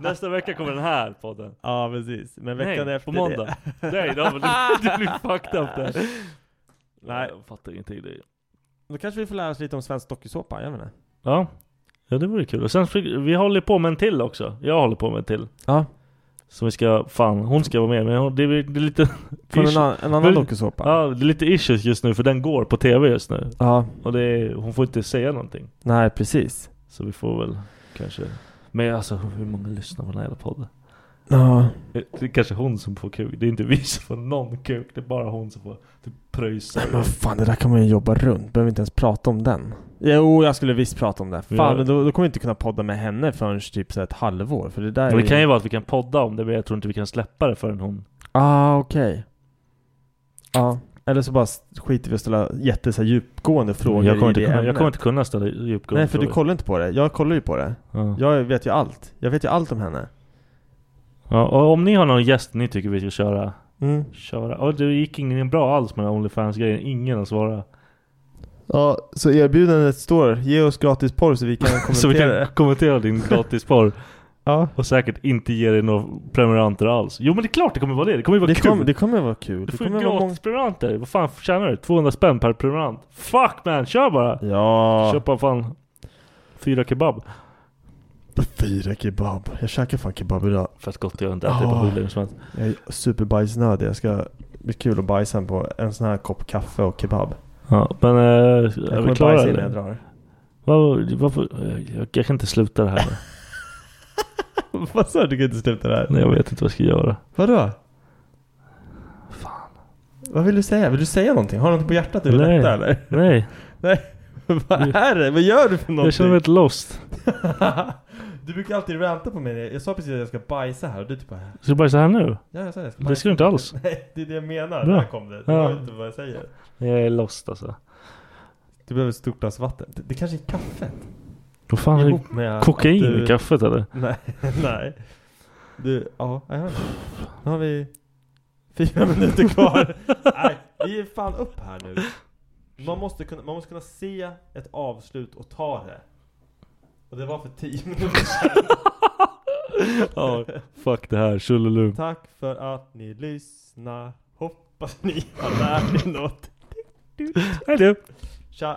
Speaker 1: Nästa vecka kommer den här podden.
Speaker 4: ja, precis. Men veckan
Speaker 1: Nej,
Speaker 4: efter
Speaker 1: på måndag. Nej, då, men det, det blir fucked up där.
Speaker 4: Nej.
Speaker 1: Jag fattar ingenting. Det.
Speaker 4: Då kanske vi får lära oss lite om svensk dokusåpa, jag menar.
Speaker 1: Ja. ja, det vore kul. Och sen, fick- vi håller på med en till också. Jag håller på med en till.
Speaker 4: Ja.
Speaker 1: Som vi ska, fan hon ska vara med men hon, det, är, det är lite...
Speaker 4: Från en,
Speaker 1: issue-
Speaker 4: an- en annan
Speaker 1: Vill-
Speaker 4: dokusåpa.
Speaker 1: Ja, det är lite issues just nu för den går på tv just nu.
Speaker 4: ja.
Speaker 1: Och det är, hon får inte säga någonting.
Speaker 4: Nej, precis.
Speaker 1: Så vi får väl kanske... Men alltså hur många lyssnar på den här jävla podden?
Speaker 4: Ja.
Speaker 1: Det är kanske hon som får kuk. Det är inte vi som får någon kuk. Det är bara hon som får typ pröjsa.
Speaker 4: Men vad fan, det där kan man ju jobba runt. Behöver inte ens prata om den. Jo, jag skulle visst prata om det. Fan,
Speaker 1: Ja.
Speaker 4: men då, då kommer jag inte kunna podda med henne förrän typ så här ett halvår. För det där
Speaker 1: Men
Speaker 4: är
Speaker 1: det kan ju vara att vi kan podda om det men jag tror inte vi kan släppa det förrän hon...
Speaker 4: Ah, okej. Ja. Eller så bara skiter vi och ställa jätte så här, djupgående frågor
Speaker 1: jag, kommer
Speaker 4: i
Speaker 1: inte
Speaker 4: det
Speaker 1: kunna, jag
Speaker 4: ämnet.
Speaker 1: kommer inte kunna ställa djupgående
Speaker 4: Nej, för du
Speaker 1: frågor.
Speaker 4: kollar inte på det. Jag kollar ju på det.
Speaker 1: Ja.
Speaker 4: Jag vet ju allt. Jag vet ju allt om henne.
Speaker 1: Ja, och om ni har någon gäst ni tycker vi ska köra,
Speaker 4: Mm.
Speaker 1: köra. Och det gick ingen bra alls med Onlyfans-grejen. Ingen har svarat.
Speaker 4: Ja, så erbjudandet står. Ge oss gratis porr så vi kan kommentera
Speaker 1: Så vi kan
Speaker 4: det.
Speaker 1: kommentera din gratisporr.
Speaker 4: Ja.
Speaker 1: och säkert inte ge dig några prenumeranter alls. Jo men det är klart det kommer vara det. Det kommer ju vara
Speaker 4: Det,
Speaker 1: kul.
Speaker 4: kom, det kommer vara kul.
Speaker 1: du
Speaker 4: Det
Speaker 1: får
Speaker 4: kommer
Speaker 1: ju
Speaker 4: vara många...
Speaker 1: gratisprenumeranter. Vad fan tjänar du? 200 spänn per prenumerant. Fuck man, kör bara!
Speaker 4: Ja.
Speaker 1: Köpa fan fyra kebab.
Speaker 4: Fyra kebab. Jag käkar fan kebab idag.
Speaker 1: Fett gott jag inte ätit på
Speaker 4: Ja.
Speaker 1: hur länge som helst.
Speaker 4: Jag är superbajsnödig. Jag ska... Det blir kul att bajsa på en sån här kopp kaffe och kebab.
Speaker 1: Ja, men eh,
Speaker 4: Jag
Speaker 1: är vi
Speaker 4: kommer
Speaker 1: klara
Speaker 4: bajsa innan jag
Speaker 1: eller?
Speaker 4: drar.
Speaker 1: Varför, varför, eh, jag, jag kan inte sluta det här nu.
Speaker 4: Vad sa du? Du kan inte sluta där.
Speaker 1: Nej, jag vet inte vad jag ska göra.
Speaker 4: Vadå?
Speaker 1: Fan.
Speaker 4: Vad vill du säga? Vill du säga någonting? Har du något på hjärtat du vill
Speaker 1: Nej.
Speaker 4: lätta eller?
Speaker 1: Nej,
Speaker 4: Vad är det? Vad gör du för någonting?
Speaker 1: jag känner mig helt lost.
Speaker 4: du brukar alltid ranta på mig. Jag sa precis att jag ska bajsa här och du typ bara
Speaker 1: Ska du bajsa här nu?
Speaker 4: Ja, jag sa jag ska
Speaker 1: Det ska du inte alls.
Speaker 4: Nej, det är det jag menar.
Speaker 1: Bra.
Speaker 4: Där kom det. Du
Speaker 1: Ja.
Speaker 4: hör inte vad jag säger.
Speaker 1: Jag är lost alltså.
Speaker 4: Du behöver ett stort glas vatten. Det, det kanske är kaffet?
Speaker 1: Vad fan är det?
Speaker 4: Ihop med
Speaker 1: Kokain
Speaker 4: att du-
Speaker 1: i kaffet eller?
Speaker 4: Nej, nej. Du, ja, jag hör det. Nu har vi fyra minuter kvar. nej, vi är fan upp här nu. Man måste, kunna, man måste kunna se ett avslut och ta det. Och det var för tio minuter
Speaker 1: Ja, fuck det här. Tjolilum.
Speaker 4: Tack för att ni lyssnar. Hoppas ni har lärt er något.
Speaker 1: Hej du!
Speaker 4: Tja!